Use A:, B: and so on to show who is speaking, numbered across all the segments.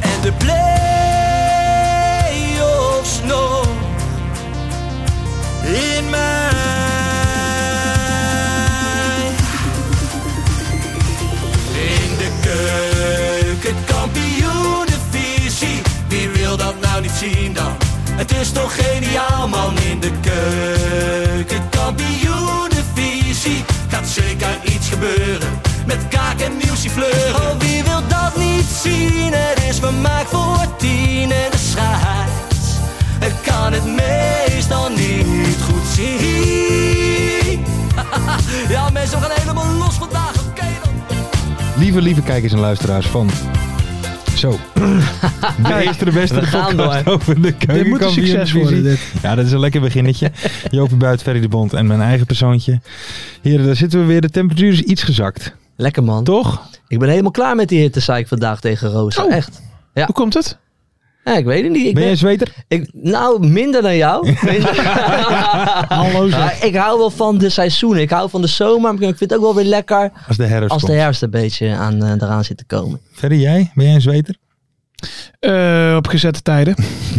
A: En de play-offs nog.
B: In mij.
A: In de keuken, kampioenenvisie. Wie wil dat nou niet zien dan? Het is toch geniaal man in de keuken, kampioenenvisie. Gaat zeker iets gebeuren met kaak en nieuwsie fleuren. Oh, wie wil dat niet zien? Het is vermaakt voor tien en de scheids. Het kan het meestal niet goed zien. ja mensen, we gaan helemaal los vandaag, oké dan.
C: Lieve, lieve kijkers en luisteraars van... Zo. De eerste, de beste,
D: We
C: de
D: gaan
C: podcast over de
D: Dit moet een succes worden,
C: keukenkampioenvisie. Ja, dat is een lekker beginnetje. Joopie Buit, Ferry de Bond en mijn eigen persoontje. Heren, daar zitten we weer. De temperatuur is iets gezakt.
D: Lekker man.
C: Toch?
D: Ik ben helemaal klaar met die hitte, zei ik vandaag tegen Roos.
C: Oh.
D: Echt. Ja.
C: Hoe komt het?
D: Ja, ik weet het niet. Ik ben-
C: Ben je een zweter?
D: ik, nou, minder dan jou. Minder-
C: Hallo
D: Maar ik hou wel van de seizoenen. Ik hou van de zomer. Maar ik vind het ook wel weer lekker
C: Als de herfst
D: als de
C: komt.
D: herfst een beetje aan, eh, eraan zit te komen.
C: Ferry, jij? Ben jij een zweter?
E: Eh, op gezette tijden.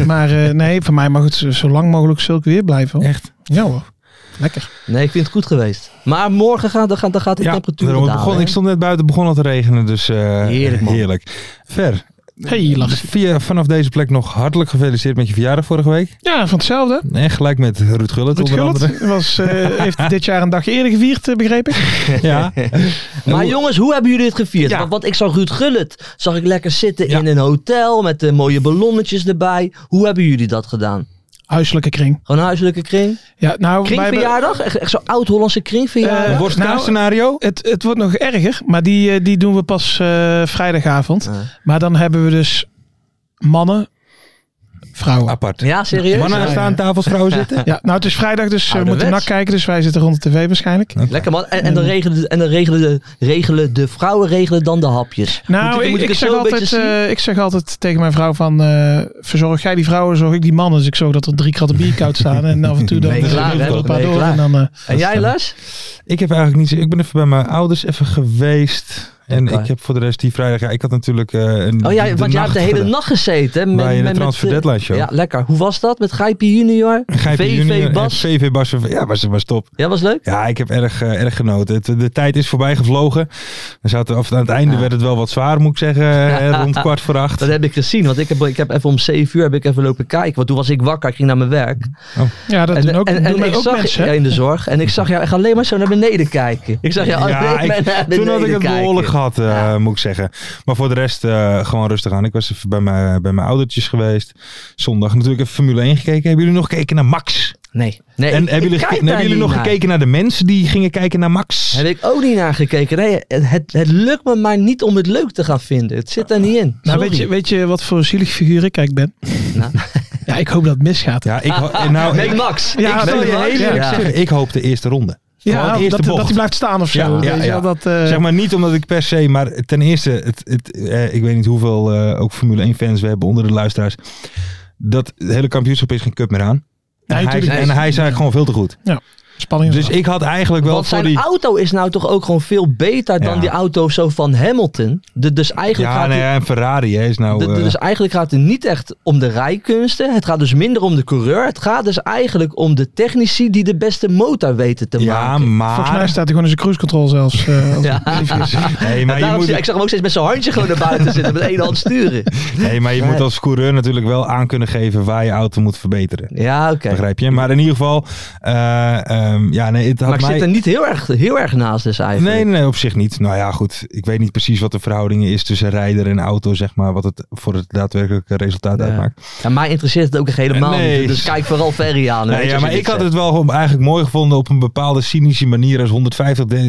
E: maar eh, nee, voor mij mag het zo, zo lang mogelijk zulk weer blijven. hoor.
C: Echt?
E: Ja hoor. Lekker.
D: Nee, ik vind het goed geweest. Maar morgen gaat, dan gaat, dan gaat de temperatuur
C: daarom,
D: dalen.
C: het begon,
D: hè?
C: ik stond net buiten, begon al te regenen. Dus eh,
D: Heerlijk, man.
C: heerlijk. Ver, dus
E: Hey, lach.
C: via, vanaf deze plek nog hartelijk gefeliciteerd met je verjaardag vorige week.
E: Ja, van hetzelfde.
C: En gelijk met Ruud Gullit
E: Ruud
C: onder andere.
E: Gullit was, eh, heeft dit jaar een dag eerder gevierd, eh, begreep ik.
C: Ja.
D: Maar jongens, hoe hebben jullie het gevierd?
E: Ja.
D: Want, want ik zag Ruud Gullit, zag ik lekker zitten
C: Ja.
D: in een hotel met de mooie ballonnetjes erbij. Hoe hebben jullie dat gedaan?
E: Huiselijke kring.
D: Gewoon een huiselijke kring?
E: Ja, nou, wij hebben-
D: Kringverjaardag? Echt, echt zo'n oud-Hollandse kringverjaardag?
C: Een
E: Eh,
C: worstkaarsscenario?
E: Het, het wordt nog erger, maar die, eh, die doen we pas eh, vrijdagavond.
D: Ah.
E: Maar dan hebben we dus mannen, vrouwen.
C: Apart.
D: ja, serieus?
C: Mannen aan
E: Ja, ja.
C: staan tafels, vrouwen zitten.
E: Ja, nou, het is vrijdag, dus eh, we
D: Ouderwets.
E: moeten nak kijken. Dus wij zitten rond de tv waarschijnlijk.
D: Lekker man. En, en dan, regelen, de- en dan regelen, de, regelen de vrouwen regelen dan de hapjes.
E: Nou,
D: moet
E: ik,
D: ik
E: ik
D: het
E: zeg
D: zo een
E: altijd,
D: beetje zien?
E: eh, ik zeg altijd tegen mijn vrouw van... eh, verzorg jij die vrouwen, zorg ik die mannen. Dus ik zorg dat er drie kratten bier koud staan. En af en toe dan
D: Ben je
E: eh,
D: klaar,
E: doen we
D: hè?
E: er een paar
D: Ben je
E: door.
D: klaar?
E: En dan, eh,
D: en jij Lars?
C: Ik heb eigenlijk niet zo... Ik ben even bij mijn ouders even geweest. En
D: Oké.
C: ik heb voor de rest die vrijdag... Ja, ik had natuurlijk eh, een...
D: Oh ja, want jij
C: nacht
D: hebt de hele
C: gedaan.
D: nacht gezeten. hè,
C: Bij de Transfer
D: eh,
C: Deadline Show.
D: Ja, lekker. Hoe was dat met Gijpie Junior?
C: Gijpje
D: VV
C: junior en
D: Bas?
C: VV eh, Bas. Ja, was, was top.
D: Ja, was leuk?
C: Ja, ik heb erg, eh, erg genoten. Het- de tijd is voorbij gevlogen. We zaten, of, aan het einde
D: Ja.
C: werd het wel wat zwaar, moet ik zeggen. eh, rond kwart voor acht.
D: Dat heb ik gezien, want ik heb, ik heb even om 7 uur heb ik even lopen kijken. Want toen was ik wakker, ik ging naar mijn werk.
E: ja, dat doen ook, doen
D: ik
E: ook
D: zag
E: mensen.
D: ja,
E: hè?
D: in de zorg. En ik zag jou echt alleen maar zo naar beneden kijken. Ik zag jou
C: Ja,
D: alleen maar
C: ik-
D: naar beneden
C: toen had ik het
D: kijken.
C: behoorlijk gehad, eh, moet ik zeggen. Maar voor de rest eh, gewoon rustig aan. Ik was even bij mijn, bij mijn oudertjes geweest. Zondag natuurlijk even Formule 1 gekeken. Hebben jullie nog gekeken naar Max?
D: Nee. nee
C: en
D: ik-
C: hebben
D: ik
C: jullie,
D: kijk
C: gekeken-
D: daar
C: hebben jullie
D: niet
C: nog
D: naar.
C: gekeken naar de mensen die gingen kijken naar Max?
D: Heb ik ook niet naar gekeken. Nee, het, het, het lukt me maar niet om het leuk te gaan vinden. Het zit er niet in.
E: Nou,
D: Sorry.
E: weet je, weet je wat voor een zielig figuur ik eigenlijk ben?
D: Nou.
E: Ja, ik hoop dat het misgaat.
C: Ja, ik, ho- eh, nou,
D: Nee,
C: ik,
D: Max.
E: Ja,
D: ik
E: dat
D: zal
E: wil
D: je
E: je
D: Max
E: heel
D: zeggen.
E: eerlijk
D: Ja.
C: zeggen, ik hoop de eerste ronde. Gewoon
E: Ja,
C: de eerste
E: dat, dat
C: bocht.
E: hij blijft staan of zo.
C: Ja, ja,
E: weet je wel,
C: ja.
E: Dat, eh,
C: Zeg maar niet omdat ik per se, maar ten eerste, het, het, eh, ik weet niet hoeveel eh, ook Formule 1 fans we hebben onder de luisteraars. Dat hele kampioenschap is geen cup meer aan. En,
E: Nee,
C: hij, is,
E: tuurlijk
C: en hij
E: niet.
C: is eigenlijk gewoon veel te goed.
E: Spanning is
C: Dus
E: er.
C: ik had eigenlijk wel
D: Want
C: voor
D: zijn
C: die...
D: auto is nou toch ook gewoon veel beter dan
C: Ja.
D: die auto zo van Hamilton. De, dus eigenlijk
C: Ja,
D: gaat
C: nee,
D: het-
C: ja, een Ferrari hè, is nou...
D: de- de-
C: eh,
D: dus eigenlijk gaat het niet echt om de rijkunsten. Het gaat dus minder om de coureur. Het gaat dus eigenlijk om de technici die de beste motor weten te
C: ja,
D: maken.
C: maar...
E: Volgens mij staat hij gewoon in zijn cruise control zelfs. eh, als
D: Ja.
E: het lief is.
C: Nee, maar je
D: Daarom
C: moet,
D: zie- ik zag hem ook steeds met zijn handje gewoon naar buiten zitten. Met één hand sturen.
C: nee, maar je moet als coureur natuurlijk wel aan kunnen geven waar je auto moet verbeteren.
D: Ja, oké.
C: Begrijp je? Maar in ieder geval, eh, eh, Ehm, ja, nee, het had
D: maar ik
C: mij...
D: zit er niet heel erg, heel erg naast dus eigenlijk.
C: Nee, nee, nee, op zich niet. Nou ja, goed. Ik weet niet precies wat de verhouding is tussen rijder en auto, zeg maar. Wat het voor het daadwerkelijke resultaat
D: Ja.
C: uitmaakt.
D: Eh, Ja, mij interesseert het ook echt helemaal
C: Nee.
D: niet. Dus kijk vooral Ferry aan. weet
C: Nee,
D: je,
C: ja,
D: als je
C: maar
D: dit
C: ik had
D: zegt.
C: het wel gewoon eigenlijk mooi gevonden op een bepaalde cynische manier. Als 150.000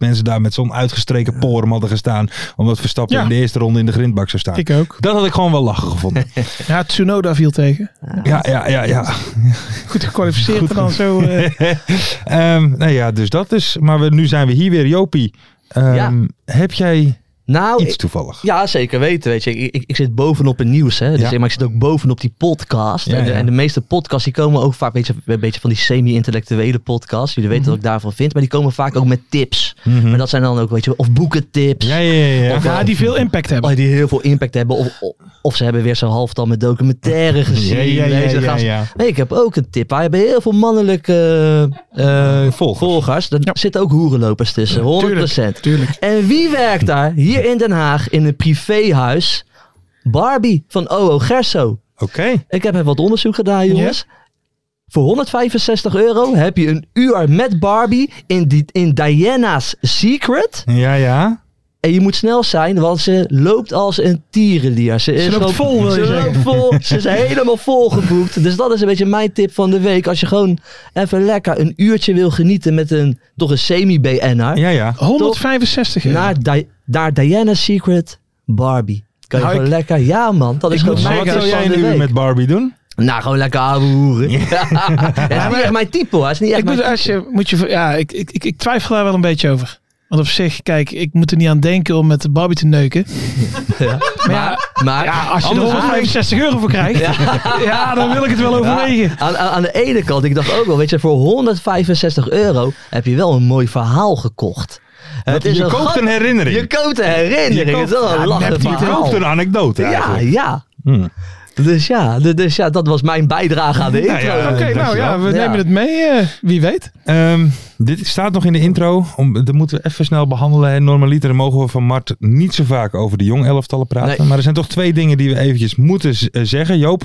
C: mensen daar met zo'n uitgestreken porum hadden gestaan. Omdat Verstappen
E: Ja.
C: in de eerste ronde in de grindbak zou staan.
E: Ik ook.
C: Dat had ik gewoon wel lachen gevonden.
E: Ja, Tsunoda viel tegen.
C: ja, ja, ja, ja.
E: Goed gekwalificeerd en dan zo. eh,
C: Ehm, nou ja, dus dat is. Maar we, nu zijn we hier weer. Jopie, ehm,
D: Ja.
C: heb jij
D: Nou,
C: iets
D: ik-
C: toevallig?
D: ja, zeker weten. Weet je. Ik, ik, ik zit bovenop het nieuws. Hè. Dus,
C: Ja.
D: Maar ik zit ook bovenop die podcast.
C: Ja,
D: en, de,
C: ja.
D: en de meeste podcasts die komen ook vaak een beetje, een beetje van die semi-intellectuele podcasts. Jullie weten wat ik daarvan vind. Maar die komen vaak ook met tips.
C: Mhm.
D: Maar dat zijn dan ook, weet je, of boekentips.
C: Ja, ja, ja. ja.
D: Of-
E: ja, die veel impact hebben.
D: Oh, die heel veel impact hebben. Of, of, of ze hebben weer zo'n halftal met documentaire gezien.
C: Ja, ja, ja,
D: weet je, dan
C: ja,
D: gaan ze-
C: ja.
D: Nee, ik heb ook een tip. Wij hebben heel veel mannelijke eh, eh, volgers. Daar
E: Ja.
D: zitten ook hoerenlopers tussen, 100%.
E: Tuurlijk.
D: En wie werkt daar hier in Den Haag in een privéhuis? Barbie van OO Gerso.
C: Oké.
D: Ik heb even wat onderzoek gedaan, jongens. Voor 165 euro heb je een uur met Barbie in, die, in Diana's Secret.
C: Ja, ja.
D: En je moet snel zijn, want ze loopt als een tierenlier. Ze, is
E: loopt
D: gewoon-
E: vol, wil je
D: ze
E: zeggen.
D: loopt vol. Ze is helemaal vol geboekt. Dus dat is een beetje mijn tip van de week. Als je gewoon even lekker een uurtje wil genieten met een, toch een semi-BN'er.
C: Ja, ja.
E: 165 euro.
D: Naar, Di- daar Diana's Secret Barbie. Kan je
E: Nou,
D: gewoon lekker... Ja man, dat is
E: ik
D: gewoon
E: moet
D: mijn
C: Maar
E: zeggen,
D: tip
C: wat zou
D: van
C: jij
D: de
C: nu
D: week.
C: met Barbie doen?
D: Nou, gewoon lekker ouwe hoeren. dat is niet echt mijn type hoor. Dat is niet echt
E: ik
D: mijn
E: moet,
D: type.
E: als je, moet je, ver- ja, ik, ik, ik, ik twijfel daar wel een beetje over. Want op zich, kijk, ik moet er niet aan denken om met Barbie te neuken. Maar ja,
D: Maar
E: ja, als je er
D: Anders-
E: 165 euro voor krijgt, ja. dan wil ik het wel overwegen.
D: Ja, aan, aan, aan de ene kant, ik dacht ook wel, weet je, voor 165 euro heb je wel een mooi verhaal gekocht. Het
C: je
D: gat-
C: koopt een herinnering.
D: Je koopt een herinnering.
C: Je
D: het is wel een lachen
C: Je
D: verhaal.
C: koopt een anekdote
D: ja,
C: eigenlijk.
D: ja.
C: Hmm.
D: Dus ja, d- dus ja, dat was mijn bijdrage aan de intro.
C: ja,
E: Oké, nou ja, we
D: Ja.
E: nemen het mee. eh, wie weet.
C: Ehm, dit staat nog in de intro. Om, dat moeten we even snel behandelen. hè. Normaliter mogen we van Mart niet zo vaak over de jong elftallen praten.
D: Nee.
C: Maar er zijn toch twee dingen die we eventjes moeten z- eh, zeggen. Joop,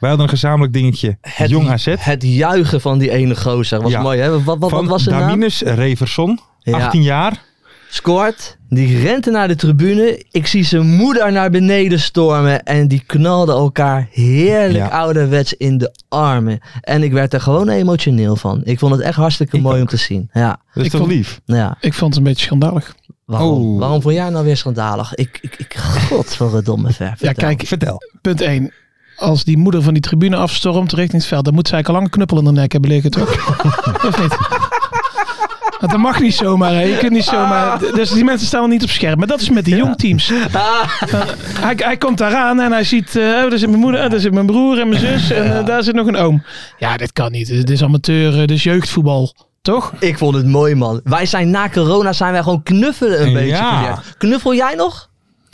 C: wij hadden een gezamenlijk dingetje.
D: Het,
C: jong AZ.
D: het juichen van die ene gozer was
C: Ja.
D: mooi. Hè? Wat, wat, wat
C: van
D: was zijn naam?
C: Daminus Reverson,
D: Ja.
C: 18 jaar.
D: Scoort, die rente naar de tribune. Ik zie zijn moeder naar beneden stormen. En die knalden elkaar heerlijk
C: Ja.
D: ouderwets in de armen. En ik werd er gewoon emotioneel van. Ik vond het echt hartstikke
C: Ik
D: mooi om
C: ook.
D: te zien. Ja, nou
C: Dat is
E: Ik
C: toch
E: vond-
C: lief?
D: ja.
E: Ik vond het een beetje schandalig.
D: Waarom,
C: Oh.
D: waarom vond jij nou weer schandalig? Ik, ik, ik godverdomme ver.
E: Ja,
D: vertel.
E: kijk,
C: Vertel.
E: punt 1. Als die moeder van die tribune afstormt richting het veld, dan moet zij eigenlijk al lang een knuppel in de nek hebben liggen, toch? of niet? Want dat mag niet zomaar, hè. Je kunt niet zomaar... Dus die mensen staan wel niet op scherp. Maar dat is met die jongteams. Dan- Hij, hij komt daaraan en hij ziet... eh, oh, daar zit mijn moeder, oh, daar zit mijn broer en mijn zus en eh, daar zit nog een oom. Ja, dit kan niet. Dit is amateur, eh, dit is jeugdvoetbal. Toch?
D: Ik vond het mooi, man. Wij zijn na corona zijn wij gewoon knuffelen een
C: Ja.
D: beetje geleerd. Knuffel jij nog?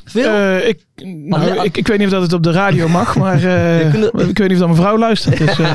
D: Veel?
E: Eh, ik, nou, ik, ik weet niet of dat het op de radio mag, maar eh,
D: Je kunt-
E: ik weet niet of dat mijn vrouw luistert. Dus, eh,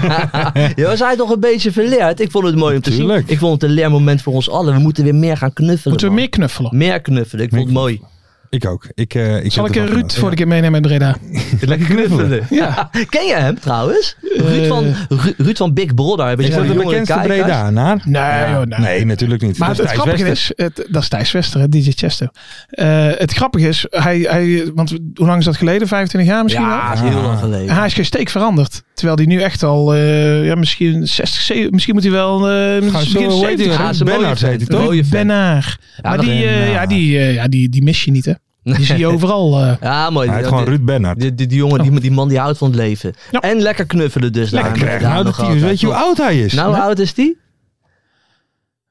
D: Ja, we zijn toch een beetje verleerd. Ik vond het mooi om te
C: Tuurlijk.
D: zien. Ik vond het een leermoment voor ons allen. We moeten weer meer gaan knuffelen.
E: moeten we
D: man.
E: meer knuffelen?
D: Meer knuffelen. Ik vond het mooi.
C: Ik ook. Ik, eh, ik
E: Zal
C: heb
E: ik
C: er
E: eh,
C: wel
E: Ruud
C: van-
E: voor de keer meenemen met Breda?
C: Lekker knuffelen. Eh,
E: Ja.
D: Ken je hem trouwens? Ruud, van, Ru- Ruud van Big Brother. Een beetje
C: Is
D: voor
C: dat
D: de
C: de
D: jongere
C: bekendste
D: kijkers.
C: Breda naar?
E: Nee, joh, nee.
C: Nee, natuurlijk niet.
E: Maar
C: Dat
E: het,
C: is Thijs
E: grappige
C: Wester.
E: is, het, dat is Thijs Wester, hè, DJ Chesto. Eh, het grappige is, hij, hij, want hoe lang is dat geleden? 25 jaar misschien wel?
D: Ja, is heel lang geleden.
E: En hij is geen steek veranderd. Terwijl hij nu echt al, eh, ja, misschien 60, 70, misschien moet hij wel eh
C: Gaan zo,
E: begin
C: hoe heet
E: 70
C: hij?
D: Ja,
E: zijn.
D: is een mooie
C: Bernhard
D: vent.
C: heet hij
D: Een
C: toch?
D: mooie vent.
E: Benaar. maar
D: dat-
E: die, eh, ja, die, eh, ja, die, die mis je niet, hè? Die zie je overal. eh.
D: Ja, mooi.
C: Hij heet gewoon
D: die,
C: Ruud Bernhard.
D: die, die, die jongen, die, die man die houdt van het leven.
E: Ja.
D: En lekker knuffelen dus. daar.
C: Lekker.
D: Daar
C: Nou,
D: nog
C: dat hij- weet je hoe
D: altijd.
C: oud hij is?
D: Nou, hoe oud is die?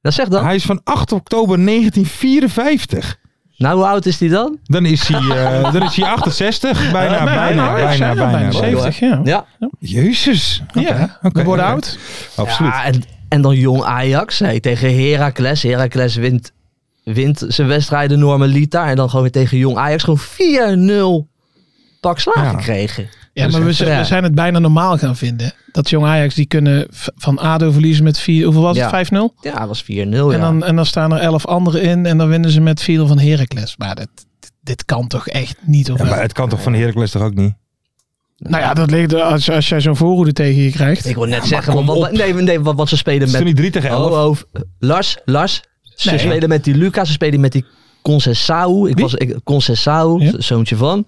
D: Nou, zeg dan.
C: Hij is van 8 oktober 1954.
D: Nou, hoe oud is die dan?
C: Dan is hij, eh, dan is hij 68. Bijna,
E: Eh,
C: bijna, bijna,
E: ik zei
C: bijna,
E: dat, bijna 70, ja.
D: Ja.
C: Jezus. Oké,
E: Ja,
C: oké,
E: we worden
C: oké.
E: oud.
C: Absoluut.
D: Ja, en, en dan jong Ajax hey, tegen Heracles. Heracles wint, wint zijn wedstrijden normalita. En dan gewoon weer tegen jong Ajax gewoon 4-0 pak slaag
C: Ja.
D: gekregen.
E: Ja,
D: Dus
E: maar we,
D: echt,
E: zijn-
D: ja.
E: we zijn het bijna normaal gaan vinden. Dat jong Ajax, die kunnen v- van ADO verliezen met 4, hoeveel was
D: Ja.
E: het? 5-0?
D: Ja, dat was 4-0. Ja.
E: En, dan, en dan staan er 11 anderen in en dan winnen ze met 4-0 van Heracles. Maar dit, dit kan toch echt niet op
C: Ja, maar het kan toch van Heracles toch ook niet?
E: Nou ja, dat ligt er- als, als jij zo'n voorhoede tegen je krijgt.
D: Ik wil net zeggen, want, wat- nee, nee, wat, wat ze spelen
C: is
D: met...
C: toen niet 3 tegen 11.
D: Oh, oh, Lars, Lars. Ze
E: Nee.
D: spelen met die Luca, ze spelen met die Concessao. Ik
E: Wie?
D: was ik, Concessao,
E: Ja.
D: z- zoontje van.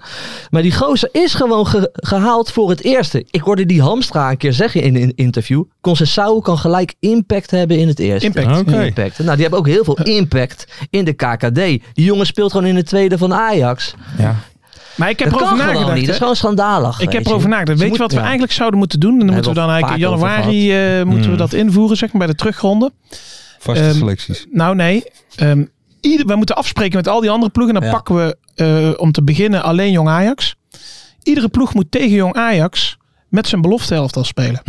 D: Maar die gozer is gewoon ge- gehaald voor het eerste. Ik hoorde die Hamstra een keer zeggen in een interview. Concessao kan gelijk impact hebben in het eerste.
E: Impact.
C: Oké.
D: Impact. Nou, die hebben ook heel veel impact in de KKD. Die jongen speelt gewoon in het tweede van Ajax.
C: Ja.
E: Maar ik heb
D: dat
E: erover
D: kan gewoon
E: nagedacht.
D: niet. Dat is
E: hè.
D: gewoon schandalig.
E: Ik heb
D: weet je.
E: erover nagedacht.
D: Ze
E: Weet je
D: moet-
E: wat we
D: ja.
E: eigenlijk zouden moeten doen? Dan moeten we
D: hebben
E: dan
D: we
E: eigenlijk in
D: vaak over
E: januari eh, moeten
C: Hmm.
E: we dat invoeren, zeg maar, bij de terugronde.
C: Vaste
E: Ehm,
C: selecties.
E: Nou, nee. Ehm ieder, we moeten afspreken met al die andere ploegen. Dan
D: Ja.
E: pakken we eh, om te beginnen alleen Jong Ajax. Iedere ploeg moet tegen Jong Ajax met zijn belofte al spelen.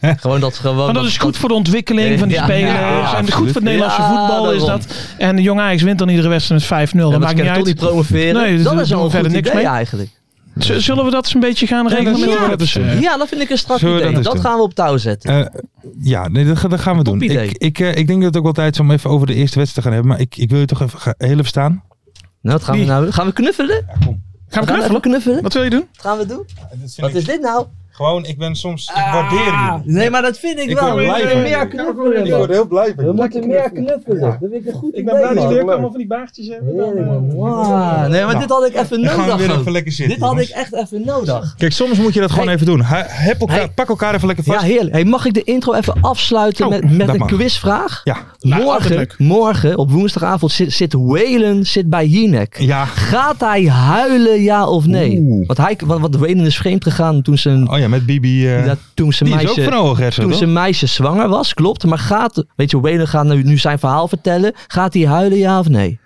D: Gewoon Oh, dat gewoon.
E: Want dat is goed voor de ontwikkeling van die
D: Ja,
E: spelers.
D: ja,
E: en
C: absoluut.
E: goed voor het Nederlandse
D: Ja,
E: voetbal is
D: daarom.
E: dat. En de Jong Ajax wint dan iedere wedstrijd met 5-0.
D: Ja,
E: dat
D: maar ze
E: maakt niet
D: kunnen toch niet
E: uit.
D: promoveren.
E: Nee, dus
D: dat
E: daar
D: is
E: doen
D: wel
E: we
D: een
E: verder
D: goed
E: niks
D: idee
E: mee.
D: eigenlijk.
E: Z- Zullen we dat eens een beetje gaan regelen?
C: dat
E: met
C: zullen we
E: elkaar?
C: dat eens doen.
E: eh,
D: Ja, dat vind ik een strak
C: Zullen we
D: idee.
C: dat
D: Dat,
C: eens doen?
D: gaan we op touw zetten.
C: Eh, ja, nee, dat, ga- dat gaan we doen.
D: Topidee.
C: Ik, ik, eh, ik denk dat het ook wel tijd is om even over de eerste wedstrijd te gaan hebben. Maar ik, ik wil je toch even ga- heel even staan.
D: nou, wat gaan we
E: wie?
D: nou doen? Gaan we knuffelen? Gaan
E: Gaan we
D: we even
E: knuffelen?
D: knuffelen? Wat
E: Wat wil je doen?
D: gaan we doen? Wat is dit nou?
C: Gewoon, ik ben soms... Ik
D: Ah, Nee, maar dat vind ik
C: Ik
D: wel.
C: word
D: We
C: blij
D: moeten
C: van.
D: meer knuffelen. man.
C: heel blij van
D: We moeten meer knuffelen. Dat vind ik een goed idee, man.
E: allemaal van die baardjes
D: Heerlijk, man. Wow. Nee, maar
C: Nou,
D: dit had ik even
C: Dan gaan we
D: nodig.
C: weer even
D: ook.
C: lekker zitten.
D: Dit had ik
C: jongens.
D: echt even nodig.
C: Kijk, soms moet je dat gewoon
D: Hey.
C: even doen. Ha- heb elkaar,
D: Hey.
C: Pak elkaar even lekker
D: Ja,
C: vast.
D: heerlijk. Hey, mag ik de intro even afsluiten
C: Oh,
D: met, met
C: dat
D: een
C: mag.
D: quizvraag?
C: Ja. Nou,
E: altijd
D: morgen,
E: leuk.
D: morgen, op woensdagavond, zit, zit Whalen zit bij Jinek.
C: Ja.
D: Gaat hij huilen, ja of nee?
C: Oeh.
D: Want, hij, want, want Whalen is vreemd gegaan toen zijn,
C: Oh ja, met Bibi. eh,
D: ja, toen zijn
C: die is ook
D: meisje...
C: van Owen Gersen,
D: toen
C: toch?
D: zijn meisje zwanger was, klopt. Maar gaat, weet je, Whalen gaat nu, nu zijn verhaal vertellen. Gaat hij huilen, ja of nee?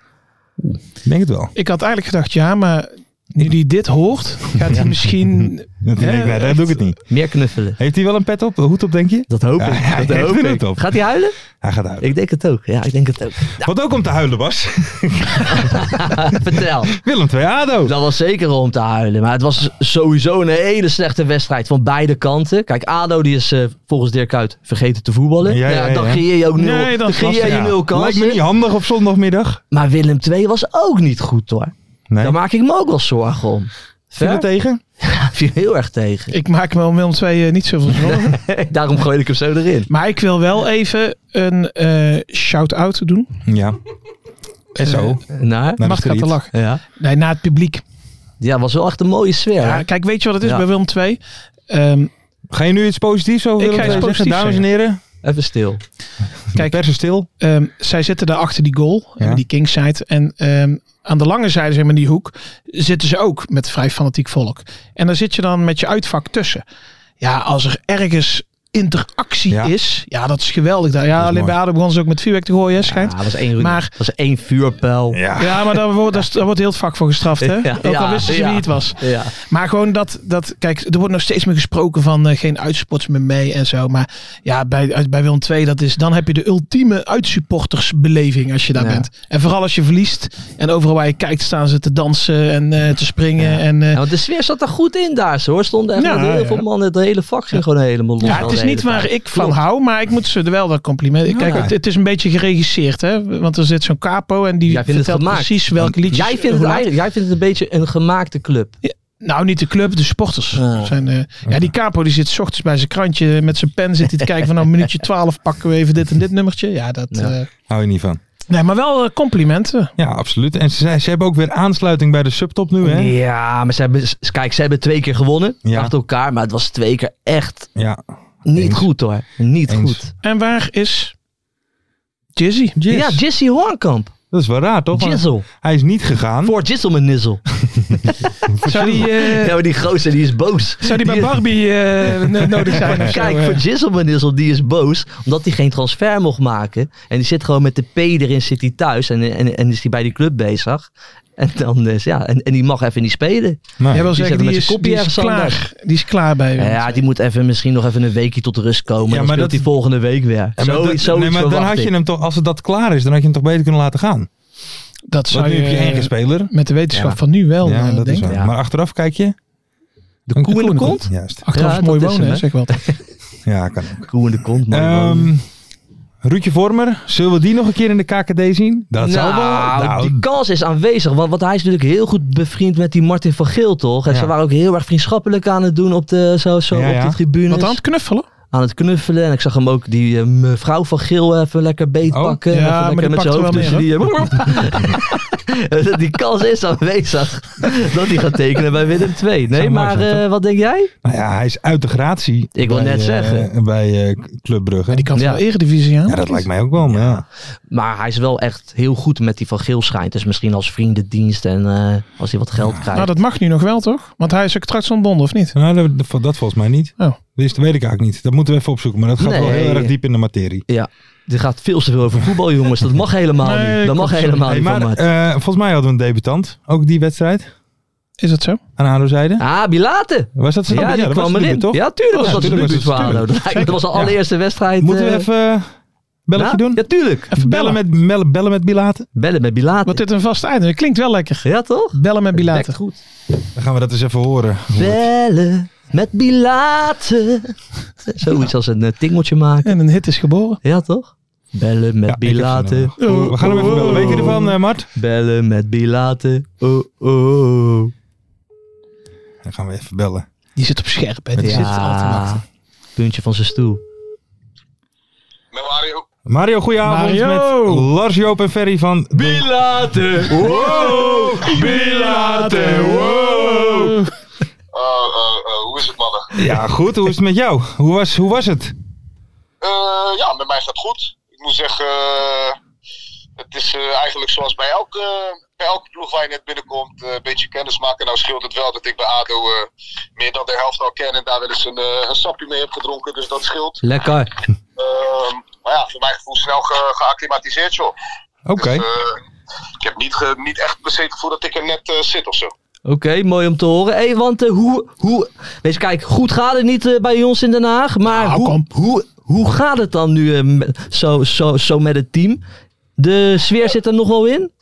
C: Ik denk het wel.
E: Ik had eigenlijk gedacht ja, maar nu die dit hoort, gaat hij misschien...
C: Dat,
E: Ja,
C: denk ik, nee, dat
E: echt.
C: doe ik het niet.
D: Meer knuffelen.
C: Heeft hij wel een pet op, een hoed op, denk je?
D: Dat hoop ik.
C: Ja,
D: dat
C: ik
D: hoop
C: vind
D: ik.
C: het op.
D: Gaat hij huilen?
C: Hij gaat uit.
D: Ik denk het ook. Ja, ik denk het ook.
C: Wat ook om te huilen was.
D: Vertel.
C: Willem II ADO.
D: Dat was zeker om te huilen. Maar het was sowieso een hele slechte wedstrijd van beide kanten. Kijk, ADO die is eh, volgens Dirk Kuyt vergeten te voetballen.
C: Ja,
D: Ja,
C: ja,
D: dan
C: ja.
D: creëer je ook nul,
E: Nee, dat
D: dan
E: is
D: creëer
E: lastig,
D: je
C: Ja,
D: nul
C: Lijkt me niet
D: kansen.
C: handig op zondagmiddag.
D: Maar Willem II was ook niet goed hoor.
C: Nee.
D: Daar maak ik me ook wel zorgen om.
C: Viel
D: Ver?
C: het tegen?
D: Viel heel erg tegen.
E: Ik maak me om Willem II eh, niet zoveel zorgen.
D: Daarom gooi ik hem zo erin.
E: Maar ik wil wel even een eh, shout-out doen.
C: Ja. En zo.
D: Nou,
C: Naar de
E: Mag gaat
C: street.
E: te lachen.
D: ja.
E: Nee, na het publiek.
D: ja, was wel echt een mooie sfeer.
E: Ja,
D: hè?
E: kijk, weet je wat het is
D: Ja.
E: bij Willem II? Ehm,
C: Ga je nu iets positiefs over
E: Ik
C: Willem
E: ga iets
C: II zeggen,
E: positiefs
C: dames en heren?
D: Even stil.
C: Kijk.
E: Kijk.
C: Persen stil.
E: ehm, zij zitten daar achter die goal, eh, die kingside. En ehm, aan de lange zijde, zeg maar in die hoek, zitten ze ook met vrij fanatiek volk. En daar zit je dan met je uitvak tussen. Ja, als er ergens interactie
C: Ja.
E: is, ja, dat is geweldig. daar. Ja,
C: is
E: alleen bij ADO begonnen ze ook met vuurwerk te gooien, hè,
D: Ja,
E: schijnt.
D: dat was één,
E: Maar-
D: was één vuurpijl.
E: Ja, maar daar wordt, daar, daar wordt heel het vak voor gestraft, hè?
D: Ja,
E: ook al
D: ja,
E: wisten ze
D: ja.
E: wie het was.
D: Ja.
E: Maar gewoon dat, dat, kijk, er wordt nog steeds meer gesproken van eh, geen uitspots meer mee en zo. Maar ja, bij, uit- bij Willem II, dat is, dan heb je de ultieme uitsupportersbeleving als je daar
D: Ja.
E: bent. En vooral als je verliest en overal waar je kijkt staan ze te dansen en eh, te springen. En, eh,
D: Ja, want de sfeer zat er goed in daar, hoor. Stonden echt
E: Ja,
D: met heel
E: ja.
D: veel mannen. Het hele vak ging gewoon helemaal los. al
E: ja, het
D: de
E: is
D: hele
E: niet waar
D: tijd.
E: ik van
D: Klopt.
E: hou, maar ik moet ze er wel dat compliment. Kijk,
C: Ja.
E: het, het is een beetje geregisseerd, hè? Want er zit zo'n capo en die
D: Jij vindt het
E: vertelt
D: gemaakt.
E: precies welke
D: Jij
E: liedjes.
D: vindt,
E: hoe
D: het
E: laat-
D: eigenlijk, jij vindt het een beetje een gemaakte club.
E: Nou, niet de club, de sporters.
D: Ja.
E: Zijn, eh, ja, die capo die zit 's ochtends bij zijn krantje met zijn pen zit hij te kijken van nou minuutje 12 pakken we even dit en dit nummertje. Ja, dat...
D: Ja.
E: eh,
C: Hou je niet van.
E: nee, maar wel eh, complimenten.
C: Ja, absoluut. En ze, zei- ze hebben ook weer aansluiting bij de subtop nu, hè?
D: Ja, maar ze hebben, s- kijk, ze hebben twee keer gewonnen.
C: Ja.
D: Achter elkaar, maar het was twee keer echt
C: Ja.
D: niet
C: Eens.
D: goed hoor. Niet
C: Eens.
D: goed.
E: En waar is Jizzy?
D: Ja,
C: Jizz.
D: Jissy Hornkamp.
C: Dat is wel raar, toch? Want
D: Jizzle.
C: Hij is niet gegaan.
D: Voor Jizzle mijn nizzle.
E: Zou die, eh,
D: Ja, maar die gozer die is boos.
E: zou die bij
D: Die-
E: Barbie eh, n- nodig zijn? of zo,
D: Kijk,
E: eh?
D: voor Jizzle mijn nizzle, die is boos. Omdat hij geen transfer mocht maken. En die zit gewoon met de P erin, zit hij thuis. En, en, en is hij bij die club bezig. En, dan, is- ja, en, en die mag even niet spelen.
C: Nee.
E: Jij
D: Die
E: wil zeggen,
D: zetten
E: die
D: met
E: is,
D: zijn kopje
E: die is
D: ergens aan
E: klaar. Die is klaar bij
D: Ja,
E: Willem
D: ja,
E: II.
D: die moet even, misschien nog even een weekje tot rust komen.
C: Ja,
D: Ja, maar
C: maar
D: speelt
C: dat-
D: hij volgende week weer.
C: Ja, maar
D: Zo,
C: dat-
D: zoiets
C: nee, maar dan
D: verwacht
C: had je
D: ik.
C: hem toch, als het dat klaar is, dan had je hem toch beter kunnen laten gaan.
E: Dat
C: Want
E: zou
C: nu
E: je, eh,
C: heb je één speler.
E: met de wetenschap
D: Ja.
E: van nu wel,
C: Ja,
E: eh,
C: dat is
E: denk ik.
C: waar.
D: Ja.
C: Maar achteraf kijk je. De
E: koe in de kont?
C: Juist.
E: Achteraf
D: Ja,
E: is mooi
D: dat is
E: wonen,
D: hem,
E: hè,
D: hè.
E: zeg wel.
D: Ehm,
C: Ja, kan ook.
D: Koe in de kont, man.
C: Ehm, Ruudje Vormer, zullen we die nog een keer in de KKD zien? Dat zou wel. nou,
D: die kans is aanwezig. Want, want hij is natuurlijk heel goed bevriend met die Martin van Geel, toch? En
C: Ja.
D: ze waren ook heel erg vriendschappelijk aan het doen op de, zo, zo,
C: Ja,
D: op
C: ja.
D: de tribunes.
E: Wat aan het knuffelen?
D: Aan het knuffelen. En ik zag hem ook die eh, mevrouw van Geel even lekker
C: Oh,
D: beetpakken.
E: ja,
D: en even
E: maar
D: lekker
E: die
D: met zijn hoofd
E: pakt er
D: tussen
E: wel
D: die... eh, die kans is aanwezig dat hij gaat tekenen bij Willem II. Nee,
C: mooi
D: maar
C: zijn,
D: eh, wat denk jij?
C: nou ja, hij is uit de gratie.
D: Ik wil
C: bij,
D: net
C: eh,
D: zeggen.
C: bij eh, Club Brugge.
E: Ja, die kan
D: Ja.
E: wel eredivisie aan.
C: ja, dat lijkt mij ook wel. maar ja.
D: Maar hij is wel echt heel goed met die van Geel schijnt. Dus misschien als vriendendienst en eh, als hij wat geld krijgt.
E: Nou, dat mag nu nog wel, toch? Want hij is ook straks ontbonden, of niet?
C: Nou, dat, dat- dat volgens mij niet.
E: Oh.
C: Dus dat weet ik eigenlijk niet. Dat moeten we even opzoeken. Maar dat gaat wel
D: Nee.
C: heel erg diep in de materie.
D: Dit gaat veel te veel over voetbal, jongens. Dat mag helemaal
E: Nee,
D: niet. Dat mag
E: klopt.
D: helemaal
C: Hey,
D: niet.
C: maar
D: van Mart.
C: eh, volgens mij hadden we een debutant. Ook die wedstrijd.
E: Is dat zo?
C: Aan Aro-zijde.
D: ah, Bilate.
C: Was eh, dat zo?
D: Ja, die
C: dat was
D: kwam
C: de
D: erin.
C: debuut, toch?
D: Ja, tuurlijk
C: Ja,
D: was dat zijn
C: tuurlijk was
D: debuut voor
C: het-
D: ADO.
C: tuurlijk.
D: Dat was de
C: Ja.
D: allereerste wedstrijd.
C: Moeten we
D: eh,
C: even eh, belletje
D: ja?
C: doen?
D: Ja, tuurlijk.
E: Even bellen.
C: Bellen met, mel- bellen met Bilaten.
D: Bellen met Bilate.
E: Wat dit een vast einde. Dat klinkt wel lekker.
D: Ja, toch?
E: Bellen met
D: Dekt
E: Bilater.
D: goed.
C: Dan gaan we dat eens even horen.
D: Bellen met Bilate. Zoiets als een eh, tingeltje maken.
E: En een hit is geboren.
D: Ja, toch? Bellen met
C: Ja, ik heb zo'n,
D: Bilate.
C: eh, we gaan
D: oh,
C: hem even bellen. Weet je ervan, eh, Mart?
D: Bellen met Bilate. Oh, oh. oh.
C: Dan gaan we even bellen.
E: Die zit op scherp, hè. Die
D: Ja.
E: zit al te wachten.
D: Puntje van zijn stoel.
C: Mario, goedenavond
E: Mario!
C: met Lars, Joop en Ferry van...
D: Bilate.
C: Bilaten, wow!
F: Oh, oh, oh, hoe is het, mannen?
C: Ja, goed. Hoe is het met jou? Hoe was, hoe was het?
F: Eh, ja, met mij gaat het goed. Ik moet zeggen, eh, het is eh, eigenlijk zoals bij elke, bij elke ploeg waar je net binnenkomt, eh, een beetje kennis maken. Nou scheelt het wel dat ik bij ADO eh, meer dan de helft al ken en daar wel eens een, eh, een sapje mee heb gedronken, dus dat scheelt.
D: Lekker.
F: Ehm, maar ja, voor mijn gevoel snel ge- geacclimatiseerd, joh.
C: Oké.
F: Dus, eh, ik heb niet, ge- niet echt per se het gevoel dat ik er net eh, zit of zo.
D: Oké, mooi om te horen. Hey, want eh, hoe, hoe. Wees kijk, goed gaat het niet eh, bij ons in Den Haag. Maar
E: Nou,
D: hoe,
E: kom.
D: hoe, hoe gaat het dan nu eh, met- zo, zo, zo met het team? De sfeer zit er nog wel in?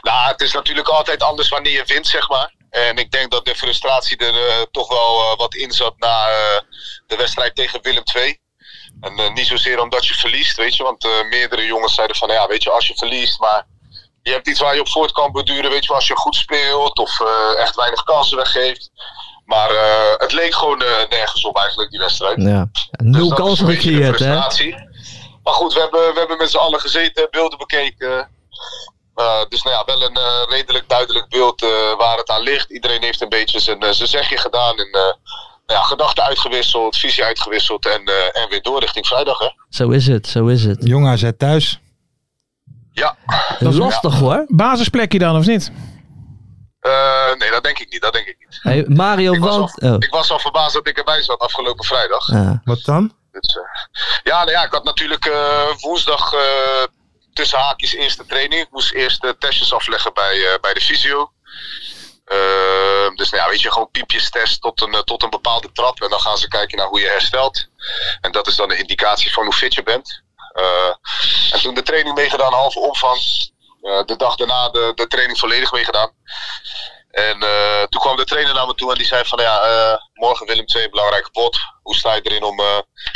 F: Nou, het is natuurlijk altijd anders wanneer je wint, zeg maar. En ik denk dat de frustratie er eh, toch wel eh, wat in zat na eh, de wedstrijd tegen Willem II. En eh, niet zozeer omdat je verliest, weet je. Want eh, meerdere jongens zeiden van, ja, weet je, als je verliest, maar... Je hebt iets waar je op voort kan beduren, weet je, als je goed speelt of eh, echt weinig kansen weggeeft. Maar eh, het leek gewoon eh, nergens op eigenlijk, die wedstrijd.
D: Ja. Nul
F: Dus dat is
D: kansen
F: een beetje de
D: gecreëerd, hè?
F: frustratie. Maar goed, we hebben, we hebben met z'n allen gezeten, beelden bekeken. Eh, dus nou ja, wel een eh, redelijk duidelijk beeld eh, waar het aan ligt. Iedereen heeft een beetje zijn, eh, zijn zegje gedaan. En, eh, nou ja, gedachten uitgewisseld, visie uitgewisseld en, eh, en weer door richting vrijdag. Hè?
D: Zo is het, zo is het.
C: Jong AZ thuis.
F: Ja,
D: Lastig hoor.
E: Basisplekje dan, of niet?
F: Eh, nee, dat denk ik niet. Dat denk ik niet.
D: Hey, Mario,
F: Ik was,
D: want.
F: al,
D: Oh.
F: ik was al verbaasd dat ik erbij zat afgelopen vrijdag.
D: Ja.
C: Wat dan?
F: Dus, eh, ja, nou ja, ik had natuurlijk eh, woensdag eh, tussen haakjes eerste training. Ik moest eerst eh, testjes afleggen bij, eh, bij de fysio. Ehm, dus nou ja, weet je, gewoon piepjes test tot een, eh, tot een bepaalde trap. En dan gaan ze kijken naar hoe je herstelt. En dat is dan een indicatie van hoe fit je bent. Eh, en toen de training meegedaan, halve omvang. Eh, de dag daarna de, de training volledig meegedaan. En eh, toen kwam de trainer naar me toe en die zei van ja, eh, morgen Willem II, belangrijke pot. Hoe sta je erin om eh,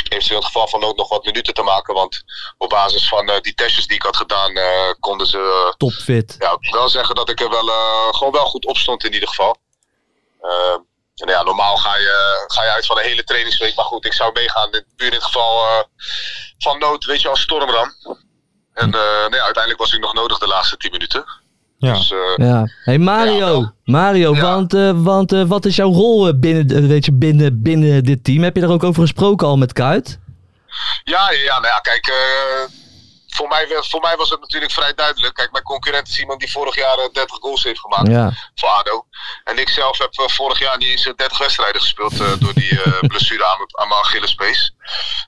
F: eventueel in het geval van nood nog wat minuten te maken? Want op basis van eh, die testjes die ik had gedaan, eh, konden ze eh,
D: Topfit.
F: ja, ik moet wel zeggen dat ik er wel, eh, gewoon wel goed op stond in ieder geval. Ehm, en ja, normaal ga je, ga je uit van een hele trainingsweek. Maar goed, ik zou meegaan. Dit, puur in het geval eh, van nood, weet je, als stormram. En eh, nee, uiteindelijk was ik nog nodig de laatste 10 minuten.
C: Ja.
F: Dus eh,
D: Ja. Hey Mario,
F: Ja.
D: Mario,
F: Ja.
D: want, eh, want eh, wat is jouw rol eh, binnen, eh, weet je, binnen, binnen dit team? Heb je daar ook over gesproken al met Kuit?
F: Ja, ja, ja, nou ja kijk, eh, voor, mij, werd- voor mij was het natuurlijk vrij duidelijk. Kijk, mijn concurrent is iemand die vorig jaar eh, 30 goals heeft gemaakt
D: Ja.
F: voor ADO. En ik zelf heb eh, vorig jaar niet eens eh, 30 wedstrijden gespeeld eh, door die eh, blessure aan, mijn- aan mijn Achillespees.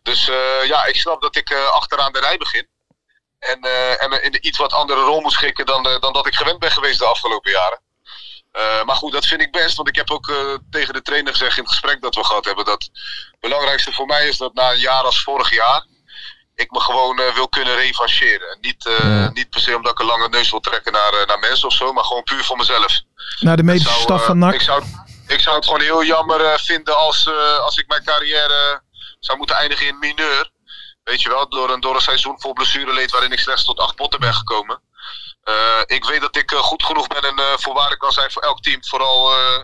F: Dus eh, ja, ik snap dat ik eh, achteraan de rij begin. En, eh, en me in een iets wat andere rol moet schikken dan, eh, dan dat ik gewend ben geweest de afgelopen jaren. Eh, maar goed, dat vind ik best, want ik heb ook eh, tegen de trainer gezegd in het gesprek dat we gehad hebben dat het belangrijkste voor mij is dat na een jaar als vorig jaar ik me gewoon eh, wil kunnen revancheren. En Niet, eh,
D: Ja.
F: niet per se omdat ik een lange neus wil trekken naar, eh, naar mensen of zo, maar gewoon puur voor mezelf.
E: Naar de medische
F: Ik zou,
E: staf
F: eh,
E: van
F: Ik
E: NAC.
F: zou, ik zou het gewoon heel jammer eh, vinden als, eh, als ik mijn carrière eh, zou moeten eindigen in mineur. Weet je wel, door een, door een seizoen vol blessureleed waarin ik slechts tot acht potten ben gekomen. Eh, ik weet dat ik eh, goed genoeg ben en eh voorwaarde kan zijn voor elk team. Vooral, eh,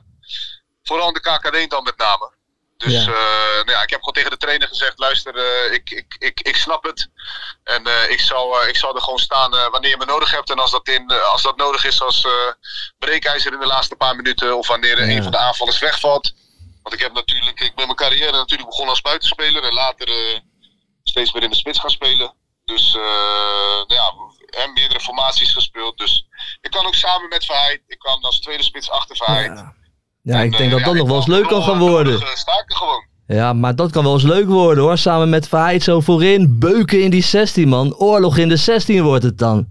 F: vooral in de KKD dan met name. Dus
D: Ja.
F: eh, nou ja, ik heb gewoon tegen de trainer gezegd, luister, eh, ik, ik, ik, ik snap het. En eh, ik, zal, eh, ik zal er gewoon staan eh, wanneer je me nodig hebt. En als dat, in, eh, als dat nodig is als eh, breekijzer in de laatste paar minuten. Of wanneer eh,
D: Ja.
F: een van de aanvallers wegvalt. Want ik heb natuurlijk, ik ben mijn carrière natuurlijk begonnen als buitenspeler. En later eh, steeds meer in de spits gaan spelen. Dus eh, nou ja, en meerdere formaties gespeeld. Dus ik kan ook samen met Verheid. Ik kwam als tweede spits achter Verheid.
D: Ja. Ja,
F: En,
D: ik denk
F: eh,
D: dat
F: ja,
D: dat
F: ik
D: nog wel eens
F: kwam
D: leuk kan
F: door-
D: gaan
F: door
D: worden.
F: de eh, Staken gewoon.
D: Ja, maar dat kan wel eens leuk worden hoor. Samen met Verheid zo voorin. Beuken in die 16 man. Oorlog in de 16 wordt het dan.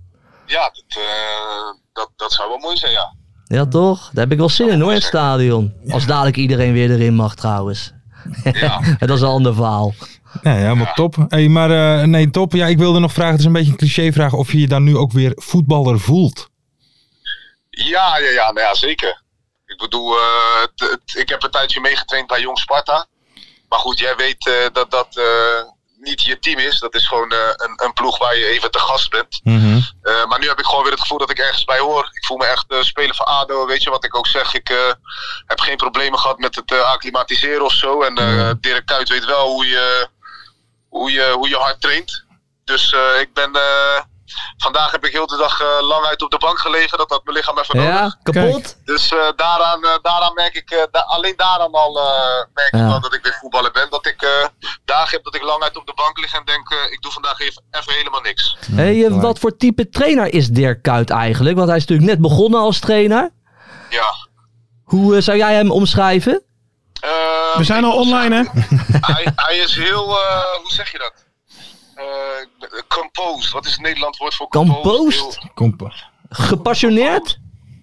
F: Ja, dat, eh, dat, dat zou wel mooi zijn, ja.
D: Ja toch? Daar heb ik wel zin in hoor in het stadion. Als dadelijk iedereen weer erin mag trouwens.
F: Ja.
D: dat is een ander verhaal.
C: Ja, ja, helemaal top. Hey, maar eh, nee, top. Ja, ik wilde nog vragen, het is een beetje een cliché vraag, of je je dan nu ook weer voetballer voelt.
F: Ja, ja, ja, nou ja zeker. Ik bedoel, eh, het- het- ik heb een tijdje meegetraind bij Jong Sparta. Maar goed, jij weet eh, dat dat eh, niet je team is. Dat is gewoon eh, een, een ploeg waar je even te gast bent.
C: Mhm.
F: Eh, maar nu heb ik gewoon weer het gevoel dat ik ergens bij hoor. Ik voel me echt eh speler van ADO, weet je wat ik ook zeg. Ik eh, heb geen problemen gehad met het eh, acclimatiseren of zo. En eh, Dirk Kuyt weet wel hoe je, hoe je, hoe je hard traint. Dus eh, ik ben... eh, vandaag heb ik heel de dag eh, lang uit op de bank gelegen. Dat had mijn lichaam even nodig.
D: Ja, kapot?
F: Dus eh, daaraan, eh, daaraan merk ik, eh, da- alleen daaraan al eh, merk
D: Ja.
F: ik wel dat ik weer voetballer ben. Dat ik eh, dagen heb dat ik lang uit op de bank lig en denk, eh, ik doe vandaag even, even helemaal niks.
D: Hey, eh, wat voor type trainer is Dirk Kuyt eigenlijk? Want hij is natuurlijk net begonnen als trainer.
F: Ja.
D: Hoe eh, zou jij hem omschrijven?
F: Eh,
E: We zijn al online, hè?
F: hij, hij is heel, eh, hoe zeg je dat? Eh, composed. Wat is het Nederland woord voor composed?
D: Composed?
F: Heel-
C: Kom.
D: Gepassioneerd?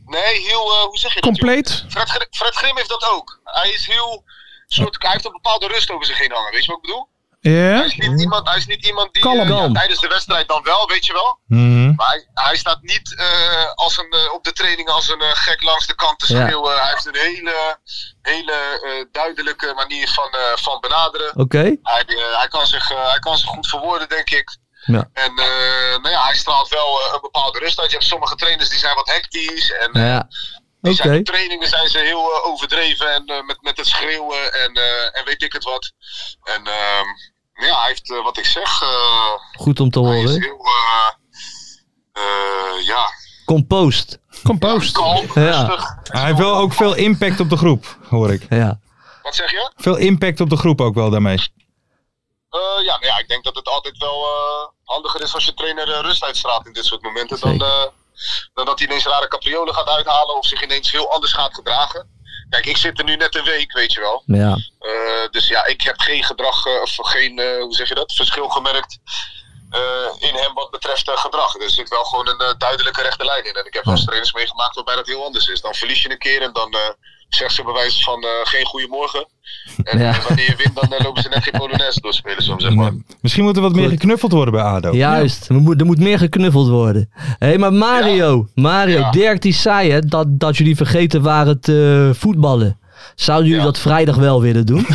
F: nee, heel, eh, hoe zeg je dat? joh?
E: Compleet.
F: Fred, Gr- Fred Grim heeft dat ook. Hij is heel, soort, hij heeft een bepaalde rust over zich heen hangen. Weet je wat ik bedoel?
E: Ja.
F: Hij is niet iemand, hij is niet iemand die
D: Mm-hmm. Kalm.
F: eh, ja,
D: Kalm.
F: tijdens de wedstrijd dan wel, weet je wel.
C: Mhm.
F: Maar hij, hij staat niet eh, als een, eh, op de training als een eh, gek langs de kant te
D: Ja.
F: schreeuwen. Hij heeft een hele, hele eh, duidelijke manier van, eh, van benaderen.
D: Oké.
F: Hij, eh, hij, kan zich, eh, hij kan zich goed verwoorden, denk ik.
D: Ja.
F: En eh, nou ja, hij straalt wel eh, een bepaalde rust uit. Je hebt sommige trainers die zijn wat hectisch. En eh,
D: Ja.
F: die zijn
D: Oké.
F: op trainingen zijn ze heel eh, overdreven en eh, met, met het schreeuwen en, eh, en weet ik het wat. En ehm, ja, hij heeft eh, wat ik zeg. eh,
D: Goed om te
F: hij is
D: horen.
F: heel. eh, eh, ja,
D: Compost.
E: Compost.
F: kalm,
D: Ja.
F: rustig.
C: Hij heeft wel ook veel impact op de groep, hoor ik.
D: Ja.
F: Wat zeg je?
C: Veel impact op de groep ook wel daarmee.
F: Eh, ja, nou ja, ik denk dat het altijd wel eh, handiger is als je trainer eh, rust uitstraalt in dit soort momenten. Dan,
D: Zeker.
F: eh, dan dat hij ineens rare capriolen gaat uithalen of zich ineens heel anders gaat gedragen. Kijk, ik zit er nu net een week, weet je wel.
D: Ja.
F: Eh, dus ja, ik heb geen gedrag, eh, of geen, eh, hoe zeg je dat, verschil gemerkt eh, in hem wat betreft eh, gedrag. Er zit wel gewoon een eh, duidelijke rechte lijn in. En ik heb wel eens trainers meegemaakt waarbij dat heel anders is. Dan verlies je een keer en dan eh zegt ze bij wijze van eh, geen goeiemorgen. En
D: Ja.
F: eh, wanneer je wint, dan eh, lopen ze net geen polonaise doorspelen, soms zeg maar.
C: Misschien moet er wat meer
D: Goed.
C: geknuffeld worden bij ADO.
D: Juist, er moet, er moet meer geknuffeld worden. Hé, maar Mario, Mario,
F: Ja.
D: Dirk die zei hè, dat, dat jullie vergeten waren te voetballen. Zouden jullie
F: Ja.
D: dat vrijdag wel willen doen?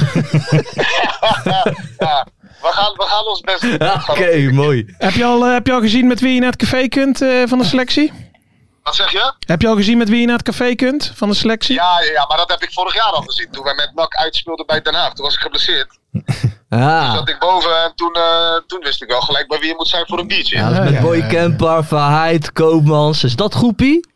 F: Ja, we gaan, we gaan ons best doen. We gaan
D: Oké,
F: ons-
D: mooi.
E: Heb je, al, eh, heb je al gezien met wie je naar het café kunt eh, van de selectie?
F: Wat zeg je?
E: Heb je al gezien met wie je naar het café kunt van de selectie?
F: Ja, ja, ja, maar dat heb ik vorig jaar al gezien. Toen wij met NAC uitspeelden bij Den Haag, toen was ik geblesseerd.
D: Ah,
F: Zat ik boven en toen, eh, toen wist ik wel gelijk bij wie je moet zijn voor een biertje.
D: ja, dat is met
E: Ja,
D: Boy
E: ja, ja.
D: Kemper, Verheid, Koopmans. Is dat groepie?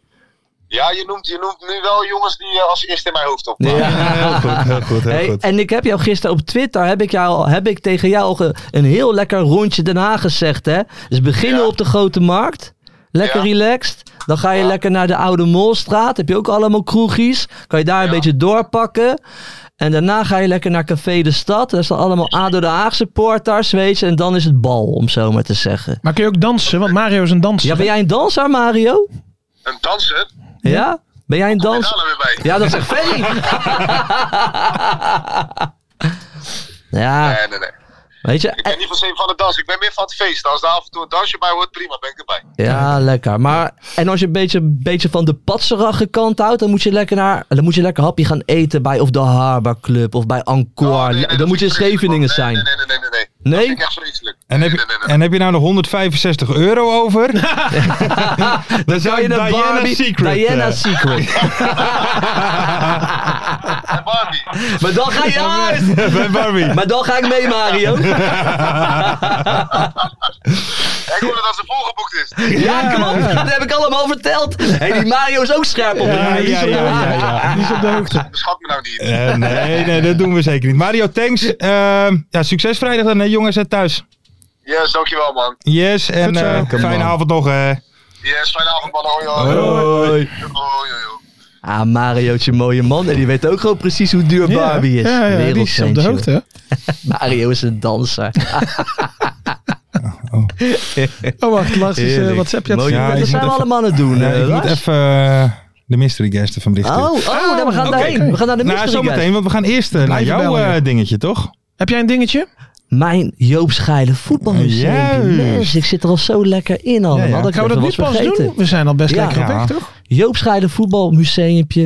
F: Ja, je noemt, je noemt nu wel jongens die eh, als eerste in mijn hoofd opkomen.
C: Heel goed, heel goed, heel
D: Hey,
C: goed.
D: en ik heb jou gisteren op Twitter, heb ik, jou, heb ik tegen jou al ge- een heel lekker rondje Den Haag gezegd. Hè? Dus beginnen
F: Ja.
D: op de Grote Markt. Lekker
F: Ja.
D: relaxed. Dan ga je
F: Ja.
D: lekker naar de Oude Molstraat. Heb je ook allemaal kroegjes. Kan je daar een
F: Ja.
D: beetje doorpakken. En daarna ga je lekker naar Café de Stad. Daar staan allemaal ADO de Haag supporters, weet je. En dan is het bal, om zo maar te zeggen.
E: Maar kun je ook dansen? Want Mario is een danser.
D: Ja, ben jij een danser, Mario?
F: Een danser?
D: Ja? Ben jij een
F: Kom je
D: danser?
F: daar nou weer bij?
D: Ja, dat zegt Ferry. ja,
F: Nee, nee, nee.
D: weet je.
F: Ik ben niet per se van het dansen. Ik ben meer van het feesten. Als er af en toe een dansje bij hoort, prima, ben ik erbij.
D: Ja, lekker. Maar, en als je een beetje, beetje van de patserige kant houdt, dan moet je lekker naar, dan moet je lekker hapje gaan eten bij of de Harbor Club of bij Encore.
F: Oh, nee, nee, dat
D: dan moet
F: vind
D: je in
F: ik vreselijk,
D: Scheveningen
F: man.
D: zijn.
F: Nee, nee, nee, nee, nee. nee. Dat
D: Nee?
F: vind ik echt vreselijk.
C: En heb,
F: nee, nee,
C: je,
F: nee, nee.
C: en heb je nou nog 165 euro over? dan zou je Diana Secret.
D: Diana
C: eh,
D: Secret.
F: En Barbie.
D: maar dan ga je uit!
C: bij Barbie.
D: Maar dan ga ik mee, Mario.
F: Ja, Ik hoorde dat ze volgeboekt is.
D: Ja, klopt. Dat heb ik allemaal verteld. Hé, die Mario is ook scherp op.
C: Ja, ja, ja, ja, ja.
E: Die is op de hoogte.
F: Beschat me nou niet.
C: Eh, nee, nee, dat doen we zeker niet. Mario, thanks. Ehm, ja, succes vrijdag dan, hè, jongens en thuis.
F: Yes, dankjewel man.
C: Yes, en
E: Goed zo.
C: eh,
E: Lekker,
C: fijne
D: man.
C: avond nog. eh.
F: Yes, fijne avond man. Hoi hoi.
C: Hoi.
F: Hoi, hoi, hoi.
D: Ah, Mariootje, mooie man. En die weet ook gewoon precies hoe duur Barbie is.
E: Ja, ja, die is op de
D: Wereldventje.
E: hoogte. hè.
D: Mario is een danser.
E: Oh, wacht, laatst is eh,
D: Heerlijk.
E: WhatsApp. Ja,
D: Mooi.
C: Ja, ik
D: dat
C: moet
D: zijn we
C: even-
D: allemaal aan het doen.
C: Ja,
D: eh,
C: ik moet
D: Lars.
C: even eh, de mystery guest ervan berichten.
D: Oh, oh, nou, we gaan daarheen. We gaan naar de
C: Nou,
D: mystery guest.
C: zometeen, want we gaan eerst eh, naar
E: Blijven
C: jouw
E: bellen,
C: eh,
E: joh.
C: dingetje, toch?
E: Heb jij een dingetje?
D: Mijn Joop Schijlen voetbalmuseum.
E: Oh,
C: Juist.
D: Yes, ik zit er al zo lekker in allemaal.
C: Ja, ja.
D: Dat ik
E: Gaan we dat
D: even
E: nu
D: was
E: pas
D: vergeten.
E: doen? We zijn al best
D: Ja.
E: lekker op
C: Ja.
E: weg, toch?
D: Joop Schrijder voetbalmuseumpje.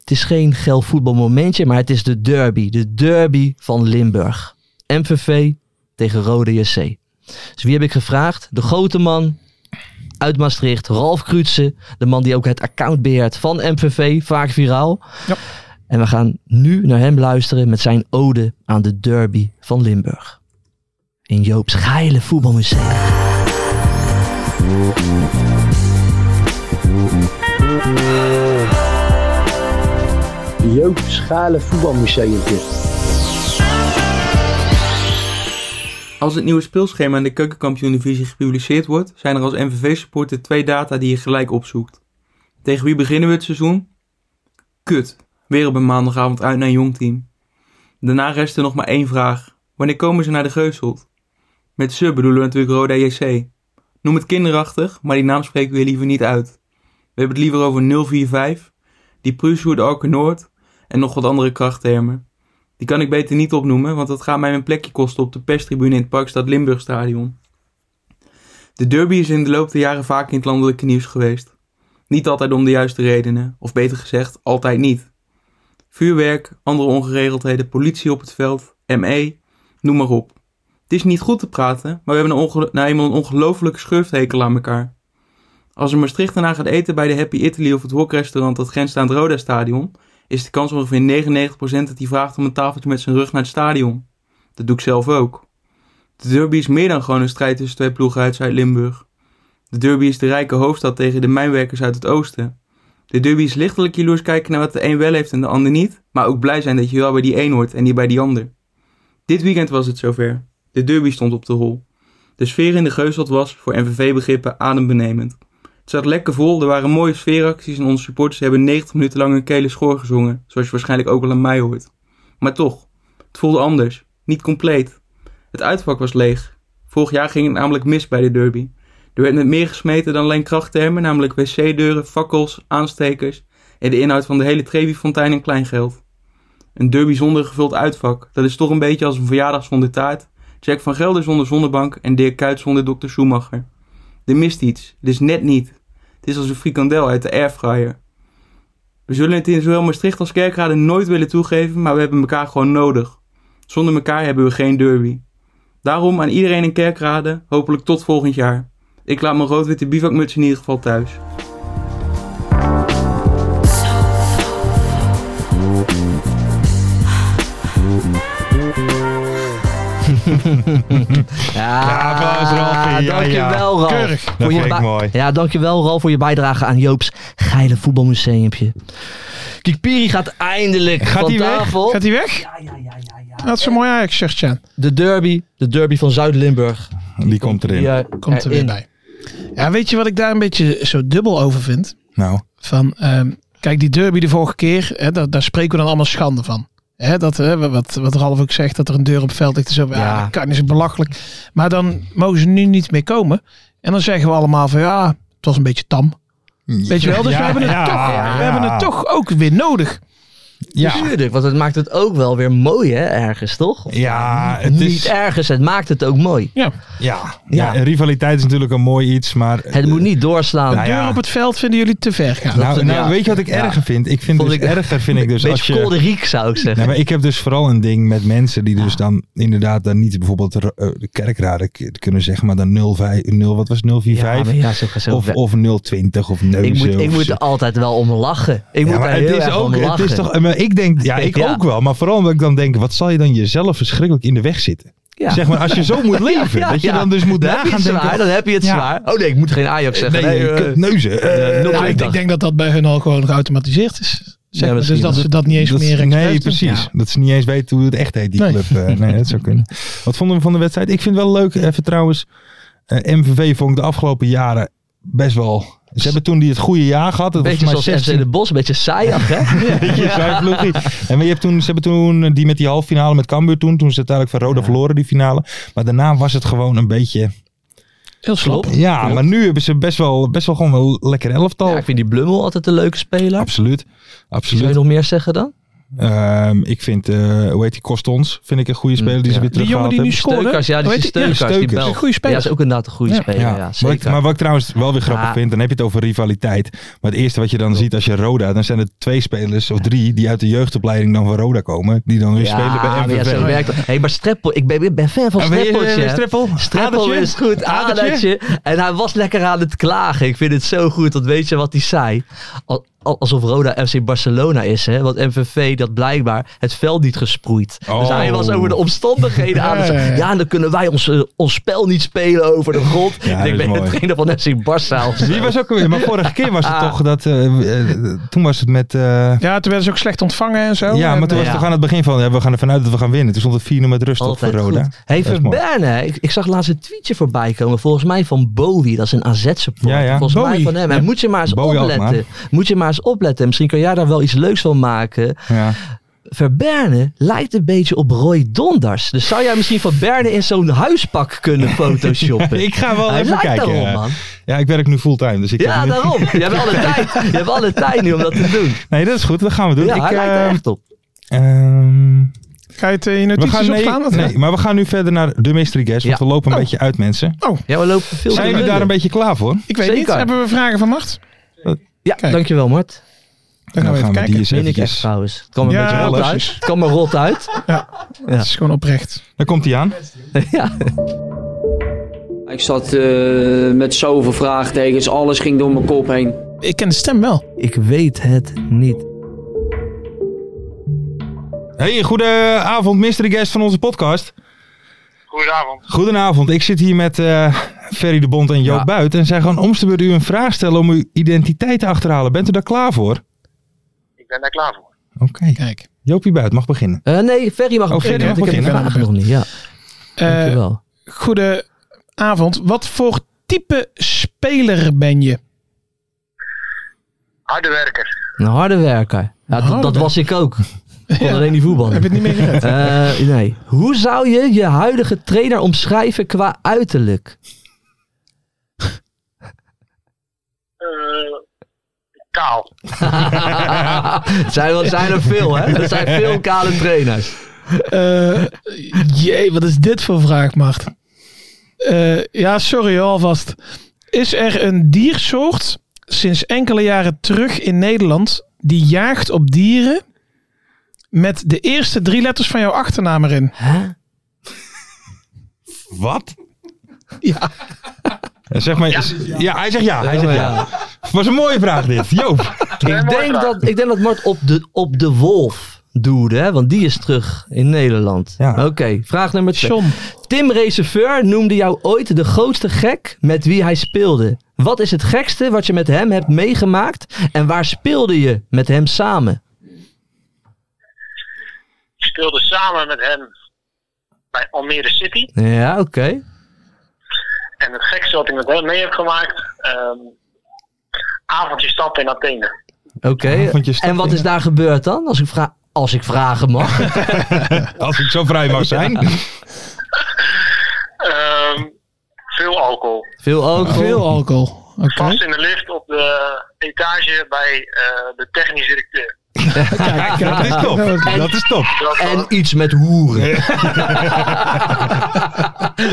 D: Het is geen geil voetbalmomentje, maar het is de derby. De derby van Limburg. MVV tegen Rode JC. Dus wie heb ik gevraagd? De grote man uit Maastricht, Ralf Krutse. De man die ook het account beheert van MVV, vaak viraal.
E: Ja.
D: En we gaan nu naar hem luisteren met zijn ode aan de derby van Limburg. In Joop's geile voetbalmuseum.
G: Joop Schalen Voetbalmuseumpje.
H: Als het nieuwe speelschema in de keukenkampioen-divisie gepubliceerd wordt, zijn er als MVV-supporter twee data die je gelijk opzoekt. Tegen wie beginnen we het seizoen? Kut, weer op een maandagavond uit naar een jong team. Daarna rest er nog maar één vraag. Wanneer komen ze naar de Geuselt? Met ze bedoelen we natuurlijk Roda JC. Noem het kinderachtig, maar die naam spreken we hier liever niet uit. We hebben het liever over 045, die Prusoer de Alke Noord en nog wat andere krachttermen. Die kan ik beter niet opnoemen, want dat gaat mij mijn plekje kosten op de perstribune in het Parkstad Limburgstadion. De derby is in de loop der jaren vaak in het landelijke nieuws geweest. Niet altijd om de juiste redenen, of beter gezegd, altijd niet. Vuurwerk, andere ongeregeldheden, politie op het veld, ME, noem maar op. Het is niet goed te praten, maar we hebben een ongelo- nou eenmaal een ongelofelijke schurfthekel aan elkaar. Als een Maastricht daarna gaat eten bij de Happy Italy of het hokrestaurant dat grenst aan het Roda Stadion, is de kans ongeveer 99% dat hij vraagt om een tafeltje met zijn rug naar het stadion. Dat doe ik zelf ook. De derby is meer dan gewoon een strijd tussen twee ploegen uit Zuid-Limburg. De derby is de rijke hoofdstad tegen de mijnwerkers uit het oosten. De derby is lichtelijk jaloers kijken naar wat de een wel heeft en de ander niet, maar ook blij zijn dat je wel bij die een hoort en niet bij die ander. Dit weekend was het zover. De derby stond op de rol. De sfeer in de Geuselt was, voor NVV-begrippen, adembenemend. Het zat lekker vol, er waren mooie sfeeracties en onze supporters hebben 90 minuten lang hun kele schoor gezongen, zoals je waarschijnlijk ook wel aan mij hoort. Maar toch, het voelde anders, niet compleet. Het uitvak was leeg. Vorig jaar ging het namelijk mis bij de derby. Er werd met meer gesmeten dan alleen krachttermen, namelijk wc-deuren, fakkels, aanstekers en de inhoud van de hele Trevi-fontein en kleingeld. Een derby zonder gevuld uitvak, dat is toch een beetje als een verjaardag zonder taart, Jack van Gelder zonder zonnebank en Dirk Kuyt zonder Dr. Schumacher. Er mist iets, dus net niet. Het is als een frikandel uit de airfryer. We zullen het in zowel Maastricht als Kerkrade nooit willen toegeven, maar we hebben elkaar gewoon nodig. Zonder elkaar hebben we geen derby. Daarom aan iedereen in Kerkrade, hopelijk tot volgend jaar. Ik laat mijn rood-witte bivakmuts in ieder geval thuis.
D: Ja,
C: applaus, Ralfie. Ja,
D: dankjewel, Ralf.
C: Keurig. Dat
D: Voor je
C: vind ik
D: ba-
C: mooi.
D: Ja, dankjewel, Ralf, voor je bijdrage aan Joop's geile voetbalmuseumpje. Kikpiri gaat eindelijk
C: Gaat
D: van
C: hij weg?
D: tafel.
E: Gaat hij weg?
D: Ja, ja, ja, ja, ja.
E: Dat is een mooi Ajax-shirtje aan.
D: De derby, de derby van Zuid-Limburg.
C: Die komt erin.
D: Die, eh,
E: Komt er weer
D: erin.
E: bij. Ja, weet je wat ik daar een beetje zo dubbel over vind?
C: Nou,
E: Van, ehm, kijk, die derby de vorige keer, hè, daar, daar spreken we dan allemaal schande van. Hè, dat, hè, wat, wat Ralf ook zegt, dat er een deur op het veld ligt. en Zo, ja.
D: Ja.
E: dat kan is belachelijk. Maar dan mogen ze nu niet meer komen. En dan zeggen we allemaal van, ja, het was een beetje tam. Weet je wel, dus
C: Mm. Ja,
E: we, hebben het
C: ja,
E: toch,
C: ja.
E: we hebben het toch ook weer nodig.
C: Ja,
D: Tuurlijk, want het maakt het ook wel weer mooi, hè, ergens, toch?
C: ja, het
D: Niet
C: is,
D: ergens, het maakt het ook mooi.
E: Ja.
C: ja,
D: Ja.
C: ja, rivaliteit is natuurlijk een mooi iets, maar...
D: Het moet niet doorslaan.
C: Nou ja,
E: Deur op het veld vinden jullie te ver gaan.
C: Nou,
D: Dat-
C: nou
D: ja.
C: weet je wat ik
D: Ja.
C: erger vind? Ik vind
D: Vond
C: dus
D: ik-
C: erger vind ik dus als
D: Beetje
C: je...
D: kolderiek, zou ik zeggen.
C: Nee, maar ik heb dus vooral een ding met mensen die dus dan inderdaad dan niet bijvoorbeeld de, eh, de kerkraden k- kunnen zeggen, maar dan 05, 0, wat was het, 045
D: maar ja, zo gaat zo
C: of,
D: ver.
C: of 020 of
D: ik
C: neuzen.
D: moet, ik
C: of
D: moet
C: zo.
D: er altijd wel om lachen. Ik
C: Ja,
D: moet
C: maar
D: daar
C: het
D: heel
C: is
D: erg
C: ook,
D: om
C: het
D: lachen.
C: is toch, eh, maar ik denk, ja, ik
D: Ja.
C: ook wel, maar vooral omdat ik dan denk, wat zal je dan jezelf verschrikkelijk in de weg zitten?
D: Ja.
C: Zeg maar, als je zo moet leven,
D: Ja,
C: dat je
D: ja.
C: dan dus moet
D: Dan heb je
C: nagaan
D: het zwaar,
C: denken.
D: dan heb je het
C: Ja.
D: zwaar. Oh nee, ik moet geen Ajax zeggen.
C: Nee,
D: Nee, eh,
C: kut, neuzen. eh,
D: eh,
E: Nou, ik, denk- ik denk dat dat bij hun al gewoon geautomatiseerd is. Zeg maar,
D: misschien
E: dus dat
D: wel.
E: ze dat niet eens
C: Dat is-
E: meer expres
C: nee,
E: doen.
C: precies.
E: Ja.
C: Dat ze niet eens weten hoe het echt heet, die
E: Nee.
C: club. Eh, nee, dat zou kunnen. Wat vonden we van de wedstrijd? Ik vind het wel leuk, even trouwens. eh, MVV vond ik de afgelopen jaren best wel... Ze hebben toen die het goede jaar gehad. Dat
D: Een beetje
C: was
D: zoals
C: voor mij
D: FC De Bos, een beetje saaiig, hè?
C: beetje saai ploegie. En maar je hebt toen, ze hebben toen eh, die met die halve finale met Cambuur toen. Toen ze uiteindelijk van Roda verloren, die finale. Maar daarna was het gewoon een beetje...
E: Heel slap.
D: Klopt.
C: Ja, maar nu hebben ze best wel, best wel gewoon wel lekker elftal.
D: Ja, ik vind die Blummel altijd een leuke speler.
C: Absoluut.
D: Zou
C: Absoluut.
D: je nog meer zeggen dan?
C: Ehm, ik vind, eh hoe heet die, Kostons? Vind ik een goede speler die
D: ja.
C: ze weer
E: Die
C: teruggehaald
E: jongen die nu
C: hebben.
E: scoorde.
D: Steukers, ja, die
E: Hoe
D: is
E: heet die?
D: Steukers,
C: Ja,
D: die
C: Steukers.
D: Bel.
E: Een goede speler.
D: Ja, is ook inderdaad een goede
E: Ja.
D: speler.
C: Ja,
D: Ja,
C: Wat ik-
D: zeker.
C: maar wat ik trouwens wel weer grappig
D: Ja.
C: vind, dan heb je het over rivaliteit. Maar het eerste wat je dan ziet als je Roda, dan zijn er twee spelers of drie die uit de jeugdopleiding dan van Roda komen. Die dan weer spelen bij
D: maar
C: MVV.
D: Ja, zo werkt het. Hey, maar Streppel, ik ben, ik ben fan van
C: Ah, ben je,
D: Streppeltje.
C: eh,
D: hè.
C: Streppel?
D: Streppel
C: Adertje?
D: is goed,
C: Adertje?
D: adertje. En hij was lekker aan het klagen. Ik vind het zo goed, want weet je wat hij zei? Al- al- Alsof Roda FC Barcelona is, hè? want MVV dat blijkbaar het veld niet gesproeid. Dus
C: Oh.
D: hij was over de omstandigheden aan het
E: Ja, ja, ja.
D: zeggen. Ja, en dan kunnen wij ons, eh, ons spel niet spelen over de grond.
C: dat
D: ik
C: is
D: ben de
C: mooi.
D: trainer van FC Barça. of zo.
C: Die was ook, maar vorige keer was het
D: Ah.
C: toch dat, eh, eh, toen was het met,
E: Oh,
C: eh,
E: Ja, toen werden ze ook slecht ontvangen en zo.
C: ja,
E: En,
C: maar toen
E: eh,
C: was het
D: ja.
C: toch aan het begin van, ja, we gaan ervan uit dat we gaan winnen. Toen stond het 4-0 met rust op voor
D: Altijd
C: Roda.
D: goed. Hey,
C: Dat is mooi.
D: Verberne, hè. ik, ik zag laatst een tweetje voorbij komen. Volgens mij van Bowie, dat is een AZ-support.
C: Ja, ja.
D: Volgens mij
C: Bowie.
D: van hem. En
C: Ja.
D: moet je maar eens
C: Bowie
D: opletten.
C: Alkmaar.
D: Moet je maar eens opletten. Misschien kan jij daar wel iets leuks van maken.
C: Ja.
D: Verberne lijkt een beetje op Roy Donders. Dus zou jij misschien Verberne in zo'n huispak kunnen photoshoppen?
C: Ik ga wel
D: Hij
C: even
D: lijkt
C: kijken.
D: daarop,
C: eh.
D: man.
C: Ja, ik werk nu fulltime, dus ik
D: Ja,
C: heb nu-
D: daarom. Je hebt alle tijd. Je hebt alle tijd nu om dat te doen.
C: Nee, dat is goed. Dat gaan we doen.
D: Ja, hij
C: ik,
D: lijkt er
C: eh,
D: echt op.
C: ehm,
E: Ga je het eh, in
C: we
E: notities
C: gaan, nee,
E: opslaan? of
C: nee, maar we gaan nu verder naar de mystery guest, want
D: Ja.
C: we lopen een
E: Oh.
C: beetje uit, mensen.
D: Ja, we lopen veel
C: Zijn
D: te
C: jullie daar
D: lullen.
C: een beetje klaar voor?
E: Ik weet
D: Zeker.
E: niet. Hebben we vragen van Macht?
D: Ja,
E: Kijk.
D: dankjewel, Mart.
C: Nou,
E: Dan gaan we even kijken.
C: die eens
D: Meen ik echt
C: eventjes-
D: trouwens. Het kwam een
E: Ja,
D: beetje rot uit.
E: precies.
D: Het kwam er rot uit.
E: Het is gewoon oprecht.
C: Daar komt hij aan.
D: Ja.
I: Ik zat eh, met zoveel vraagtekens, alles ging door mijn kop heen.
E: Ik ken de stem wel.
D: Ik weet het niet.
C: Hey, goedenavond, mystery guest van onze podcast.
F: Goedenavond.
C: Goedenavond, ik zit hier met eh, Ferry de Bond en Joop
D: Ja.
C: Buit. En zij gaan om de beurt u een vraag stellen om uw identiteit te achterhalen. Bent u daar klaar voor?
F: Ik ben daar klaar voor.
C: Oké.
E: Kijk.
C: Joopie Buit mag beginnen.
D: Eh, nee, Ferry mag
C: Oh, Ferry
D: beginnen,
C: mag
D: want ik heb de
E: beginnen.
D: vraag nog niet. Ja,
E: Eh,
D: dankjewel.
E: Goedenavond. Wat voor type speler ben je?
F: Harde werker.
D: Een Nou, harde werker. Ja, dat-
E: harde
D: dat was ik ook. Ik kon alleen niet voetballen.
E: Heb je het niet meer gered?
D: Eh, nee. Hoe zou je je huidige trainer omschrijven qua uiterlijk?
F: Eh, kaal.
D: Er zijn, er zijn er veel, hè? Er zijn veel kale trainers.
E: Eh, jee, wat is dit voor vraag, Mart? Eh, ja, sorry hoor, alvast. Is er een diersoort sinds enkele jaren terug in Nederland die jaagt op dieren met de eerste drie letters van jouw achternaam erin?
D: Hè?
C: Wat?
E: Ja.
C: Zeg maar, ja. hij zegt ja. Hij zegt ja. Was een mooie vraag dit. Joop.
D: Ik denk, dat, ik denk dat Mart op de, op de wolf doelde, hè? want die is terug in Nederland.
C: Ja.
D: Oké, vraag nummer twee.
E: John.
D: Tim Reserveur noemde jou ooit de grootste gek met wie hij speelde. Wat is het gekste wat je met hem hebt meegemaakt en waar speelde je met hem samen?
F: Ik speelde samen met hem bij Almere City.
D: Ja, oké.
F: En het gekste wat ik met hem mee heb gemaakt... ehm, avondje stappen in Athene.
D: Oké.
C: Avondje stappen,
D: En wat is
C: ja.
D: daar gebeurd dan? Als ik, vra als ik vragen mag.
C: Als ik zo vrij mag zijn.
F: Ehm, veel alcohol.
D: Veel alcohol.
E: Veel alcohol. Oké.
D: Ah.
F: Vast in de lift op de etage bij eh, de technisch directeur.
E: Kijk, kijk,
C: Dat is top. Dat is top.
D: En iets met hoeren.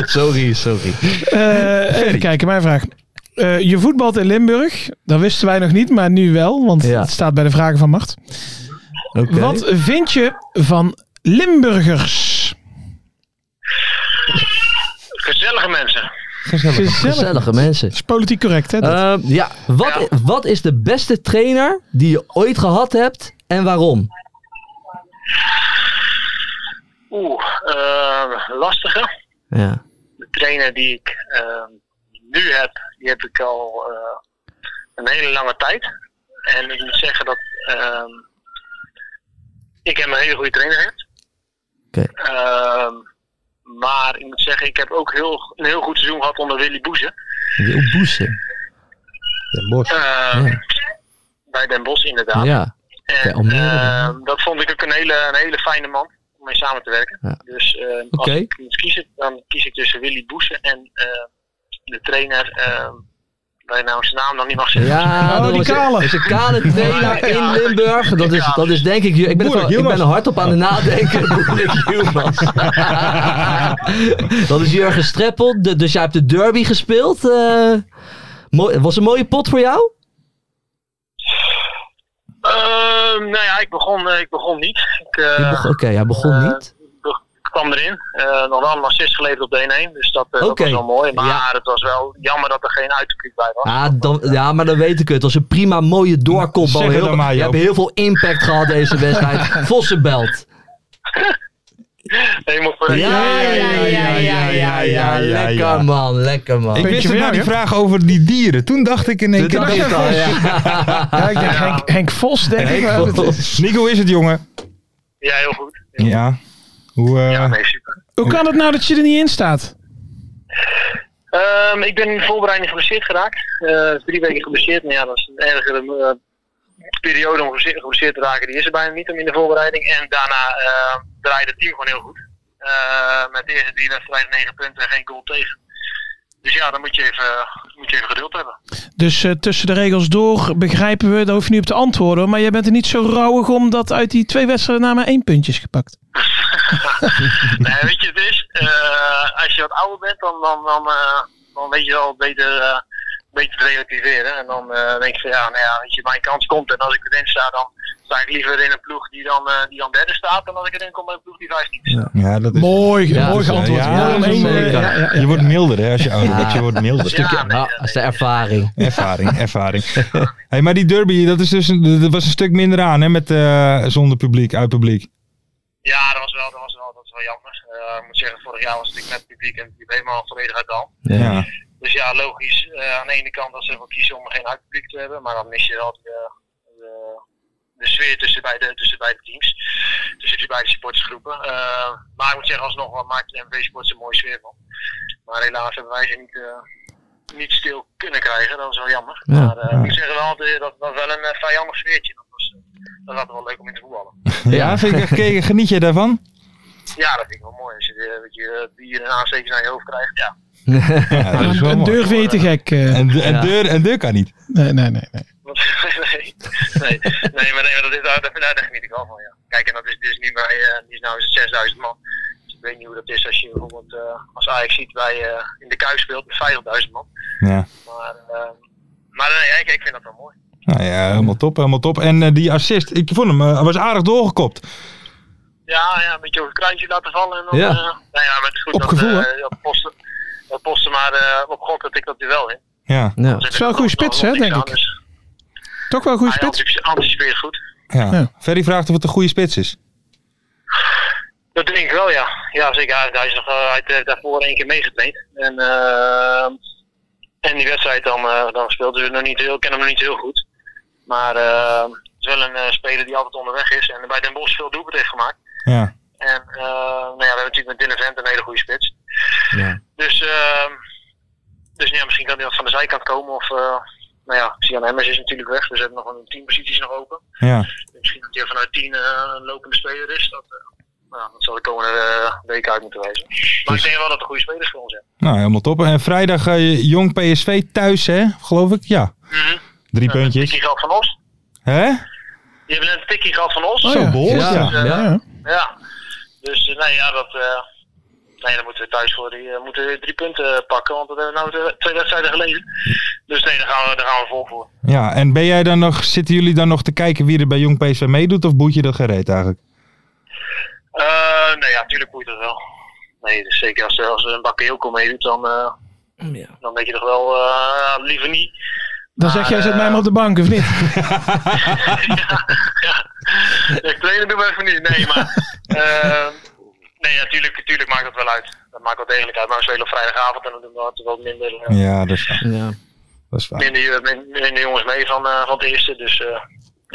D: sorry, sorry.
E: Eh, even kijken, mijn vraag. Eh, je voetbalt in Limburg. Dat wisten wij nog niet, maar nu wel, want
D: Ja.
E: het staat bij de vragen van macht.
D: Oké.
E: Wat vind je van Limburgers?
F: Gezellige mensen.
C: Gezellig.
D: Gezellige mensen.
E: Dat is politiek correct, hè? dat?
D: Ehm, ja, wat, wat is de beste trainer die je ooit gehad hebt en waarom?
F: Oeh, eh, lastige.
D: Ja.
F: De trainer die ik eh, nu heb, die heb ik al eh, een hele lange tijd. En ik moet zeggen dat ehm, ik heb een hele goede trainer heb.
D: Oké.
F: Ehm, maar ik moet zeggen, ik heb ook heel, een heel goed seizoen gehad onder Willy Boeze.
D: Wil Boesen.
C: Den Bosch.
F: Ehm,
D: Ja.
F: Bij Den Bosch inderdaad.
D: Ja.
F: En,
D: Bij Almere,
F: ehm,
D: ja.
F: dat vond ik ook een hele, een hele fijne man om mee samen te werken.
D: Ja.
F: Dus ehm,
D: Oké.
F: als ik moet kiezen, dan kies ik tussen Willy Boesen en ehm, de trainer, ehm waar je nou zijn naam nog niet mag zeggen.
D: Ja,
E: Oh,
D: dat
E: die
D: is een-
E: kale.
D: dat is een kale trainer in Limburg. Dat is, dat is denk ik... Ik ben, er,
C: Boerik
D: wel- ik ben
C: Hielmans.
D: er hard op aan het nadenken. Boerik Hielmans. dat is Jurgen Streppel. De- dus jij hebt de derby gespeeld. eh. mooi, was een mooie pot voor jou?
F: Ehm, nou ja, ik begon, eh, ik begon niet. Ik, eh,
D: Je beg- Oké, hij begon
F: eh,
D: niet.
F: ik kwam erin. Eh, nog wel een assist geleverd op de 1-1, dus dat, eh,
D: Oké.
F: dat was wel mooi. Maar
D: Ja.
F: het was wel jammer dat er geen uitpubliek bij was.
D: Ja, Ah, dan, ja, maar dan weet ik het. Het was een prima mooie doorkopbal.
C: Zeg het
D: Heel-
C: dan maar,
D: je
C: Joop.
D: hebt heel veel impact gehad deze wedstrijd. Vossenbelt.
F: Helemaal voor
D: Ja, ja, ja, ja, ja, ja, ja. Lekker man, lekker man.
C: Ik
E: Puntje
C: wist
E: voor
C: het nou
E: jou,
C: die
E: hè?
C: vraag over die dieren. Toen dacht ik in één
D: Dit
C: keer...
D: dacht ik al, ja.
E: Ja, ik denk Henk, Henk Vos, denk ik. maar dat is-
C: Nico, hoe is het jongen?
F: ja, heel goed.
C: Ja. Hoe, eh,
F: Ja, nee, super.
E: Hoe kan het nou dat je er niet in staat?
F: Ehm, ik ben in de voorbereiding geblesseerd geraakt. Eh, drie weken geblesseerd. Maar ja, dat is een ergere eh, periode om geblesseerd, geblesseerd te raken. Die is er bijna niet om in de voorbereiding. En daarna eh, draaide het team gewoon heel goed. Eh, met de eerste drie wedstrijden negen punten en geen goal tegen. Dus ja, dan moet je even, moet je even geduld hebben.
E: Dus eh, tussen de regels door begrijpen we, daar hoef je niet op te antwoorden. hoor, Maar jij bent er niet zo rauwig om dat uit die twee wedstrijden na maar één puntje is gepakt.
F: nee, weet je, het is. eh, als je wat ouder bent, dan, dan, dan, eh, dan weet je wel beter, eh, beter te relativeren. En dan eh, denk je van ja, nou ja, weet je, mijn kans komt. En als ik erin sta, dan sta ik liever in een ploeg die dan, eh, die dan derde staat. Dan als ik erin kom bij een ploeg die vijftien staat.
C: ja, dat is...
E: Mooi,
D: Ja,
E: mooi
D: dus, eh,
E: geantwoord.
C: ja,
E: Mooi om
D: dat is
E: één,
D: een
E: eh,
D: zeker.
E: ja, ja, ja.
C: Je wordt milder hè, als je ouder
D: Ja.
C: wordt. Je wordt milder.
F: Ja, nee,
D: Nou, dat is de ervaring.
C: Ervaring, ervaring. Hey, maar die derby, dat, is dus, een- dat was een stuk minder aan hè, met, eh, zonder publiek, uit publiek.
F: Ja, dat was wel, dat was wel, dat was wel jammer. Eh, ik moet zeggen, vorig jaar was het natuurlijk met publiek en het liep helemaal volledig uit de hand.
C: Ja.
F: Dus ja, logisch. eh, aan de ene kant dat ze ervoor kiezen om geen uitpubliek te hebben, maar dan mis je wel de, de, de sfeer tussen beide, tussen beide teams, tussen die beide supportersgroepen. Eh, maar ik moet zeggen, alsnog wat maakt de MV Sports een mooie sfeer van. Maar helaas hebben wij ze niet, eh, niet stil kunnen krijgen, dat is wel jammer.
D: Ja,
F: maar eh, ik moet zeggen, wel, de- dat was wel een eh, vijandig sfeertje. Dat was, eh, dat was wel leuk om in te voetballen.
C: Ja, vind ik echt gekeken. Geniet jij daarvan?
F: Ja, dat vind ik wel mooi. Als je, eh, dat je eh, bier en aanstekens naar je hoofd krijgt. Ja,
C: Ja, dat is wel
E: Een
C: mooi.
E: deur vind je te gek. eh.
C: En, de- en
D: Ja.
C: deur, en deur kan niet.
E: Nee, nee, nee. nee.
F: Want- nee, nee, nee, maar, nee, maar dat is, daar, daar, daar geniet ik wel van. Ja. Kijk, en dat is dus nu bij, eh, die is nou eens 6000 man. Dus ik weet niet hoe dat is als je bijvoorbeeld eh, als Ajax ziet bij eh, in de Kuip speelt met 50.000 man.
C: Ja.
F: Maar, eh, maar nee, ik, ik vind dat wel mooi.
C: Nou ja, helemaal top, helemaal top. En eh, die assist, ik vond hem, eh, was aardig doorgekopt.
F: Ja, ja, een beetje over het kruintje laten vallen. En dan,
D: Ja.
F: eh, nou ja, maar het is goed
E: Op
F: dat,
E: gevoel,
F: eh,
E: hè?
F: dat posten. Dat posten maar eh, op God dat ik dat wel Dus in.
C: Ja,
D: Ja.
F: Het
E: is wel een goede spits, hè, denk ik.
F: Dus,
E: Toch wel een goede
F: hij
E: spits.
F: anticipe- anticipeert goed.
C: ja.
E: Ja.
C: Ferry vraagt of het een goede spits is.
F: Dat denk ik wel, ja. Ja, zeker. Hij, hij is nog, eh, hij heeft daarvoor één keer meegetraind. En, ehm, en die wedstrijd dan, eh, dan speelt. Dus nog niet heel, ik ken hem nog niet heel goed. Maar ehm, het is wel een eh, speler die altijd onderweg is. En bij Den Bosch veel doelpunt heeft gemaakt.
C: Ja.
F: En eh, nou ja, we hebben natuurlijk met Dylan Vent een hele goede spits.
D: Ja.
F: Dus, ehm, dus ja, misschien kan hij wat van de zijkant komen. Of, eh nou ja, Sian Emmers is natuurlijk weg. Dus we hebben nog een tien posities nog open.
C: Ja,
F: Misschien dat hij vanuit 10
J: eh,
F: een lopende speler is. Dat, eh, nou, dat zal de komende eh, weken uit moeten wijzen. Maar ik denk wel dat er goede spelers voor ons zijn.
C: nou helemaal top. En vrijdag eh, jong PSV thuis hè, geloof ik? Ja, drie
F: Drie
C: puntjes.
F: geld van ons.
C: Hè?
J: Die hebben net een tikkie gehad van ons.
E: Zo, behoorlijk,
J: Dus,
E: ja.
J: eh,
E: Ja.
J: ja. Dus eh, nee, ja, dat, eh, nee, dan moeten we thuis voor die, eh, moeten we drie punten pakken. Want dat hebben we nou twee- twee wedstrijden geleden. Dus nee, daar gaan we, daar gaan we vol voor.
C: Ja, en ben jij dan nog, zitten jullie dan nog te kijken wie er bij Jong PSV meedoet of boet je dat gereed eigenlijk?
J: Eh, nee, ja, natuurlijk moet dat wel. Nee, dus zeker als, als er een bakkeelko meedoet, dan, eh, dan denk je toch wel eh, liever niet.
E: Dan zeg jij, zet mij maar op de bank, of niet?
J: Ja, Ik trainen doen we even niet. Nee, maar. eh, nee, natuurlijk tuurlijk, tuurlijk maakt dat wel uit. Dat maakt wel degelijk uit. Maar we spelen op vrijdagavond en dan doen we altijd wat minder, eh,
C: Ja, dat is waar.
D: Ja.
C: Dat is waar.
J: minder, eh, min- minder jongens mee van, eh, van het eerste. Dus eh,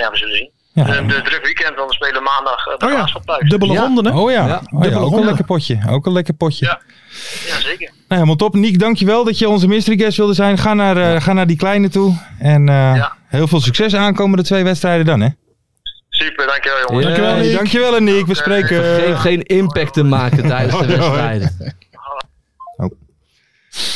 J: ja, we zullen zien.
C: Ja.
J: Eh, de druk weekend, dan spelen we maandag eh, de
E: Oh ja,
J: Graafschap thuis.
E: dubbele ronde, hè?
C: Oh ja,
D: Ja,
C: oh, ja
E: dubbele
C: ook een
E: ronde.
C: lekker potje. Ook een lekker potje.
J: Ja. Ja, zeker.
C: Nou, helemaal top. Niek, dankjewel dat je onze mystery guest wilde zijn. Ga naar, eh, ga naar die kleine toe. En eh,
J: Ja.
C: heel veel succes aankomende twee wedstrijden dan, hè?
J: Super, dankjewel jongens.
D: Dankjewel,
C: Hey,
D: Niek.
C: dankjewel en Niek. We
J: Oké.
C: spreken.
D: Geen, geen impact te maken tijdens de
C: Oh, ja, hoor.
D: wedstrijden.
C: Oh.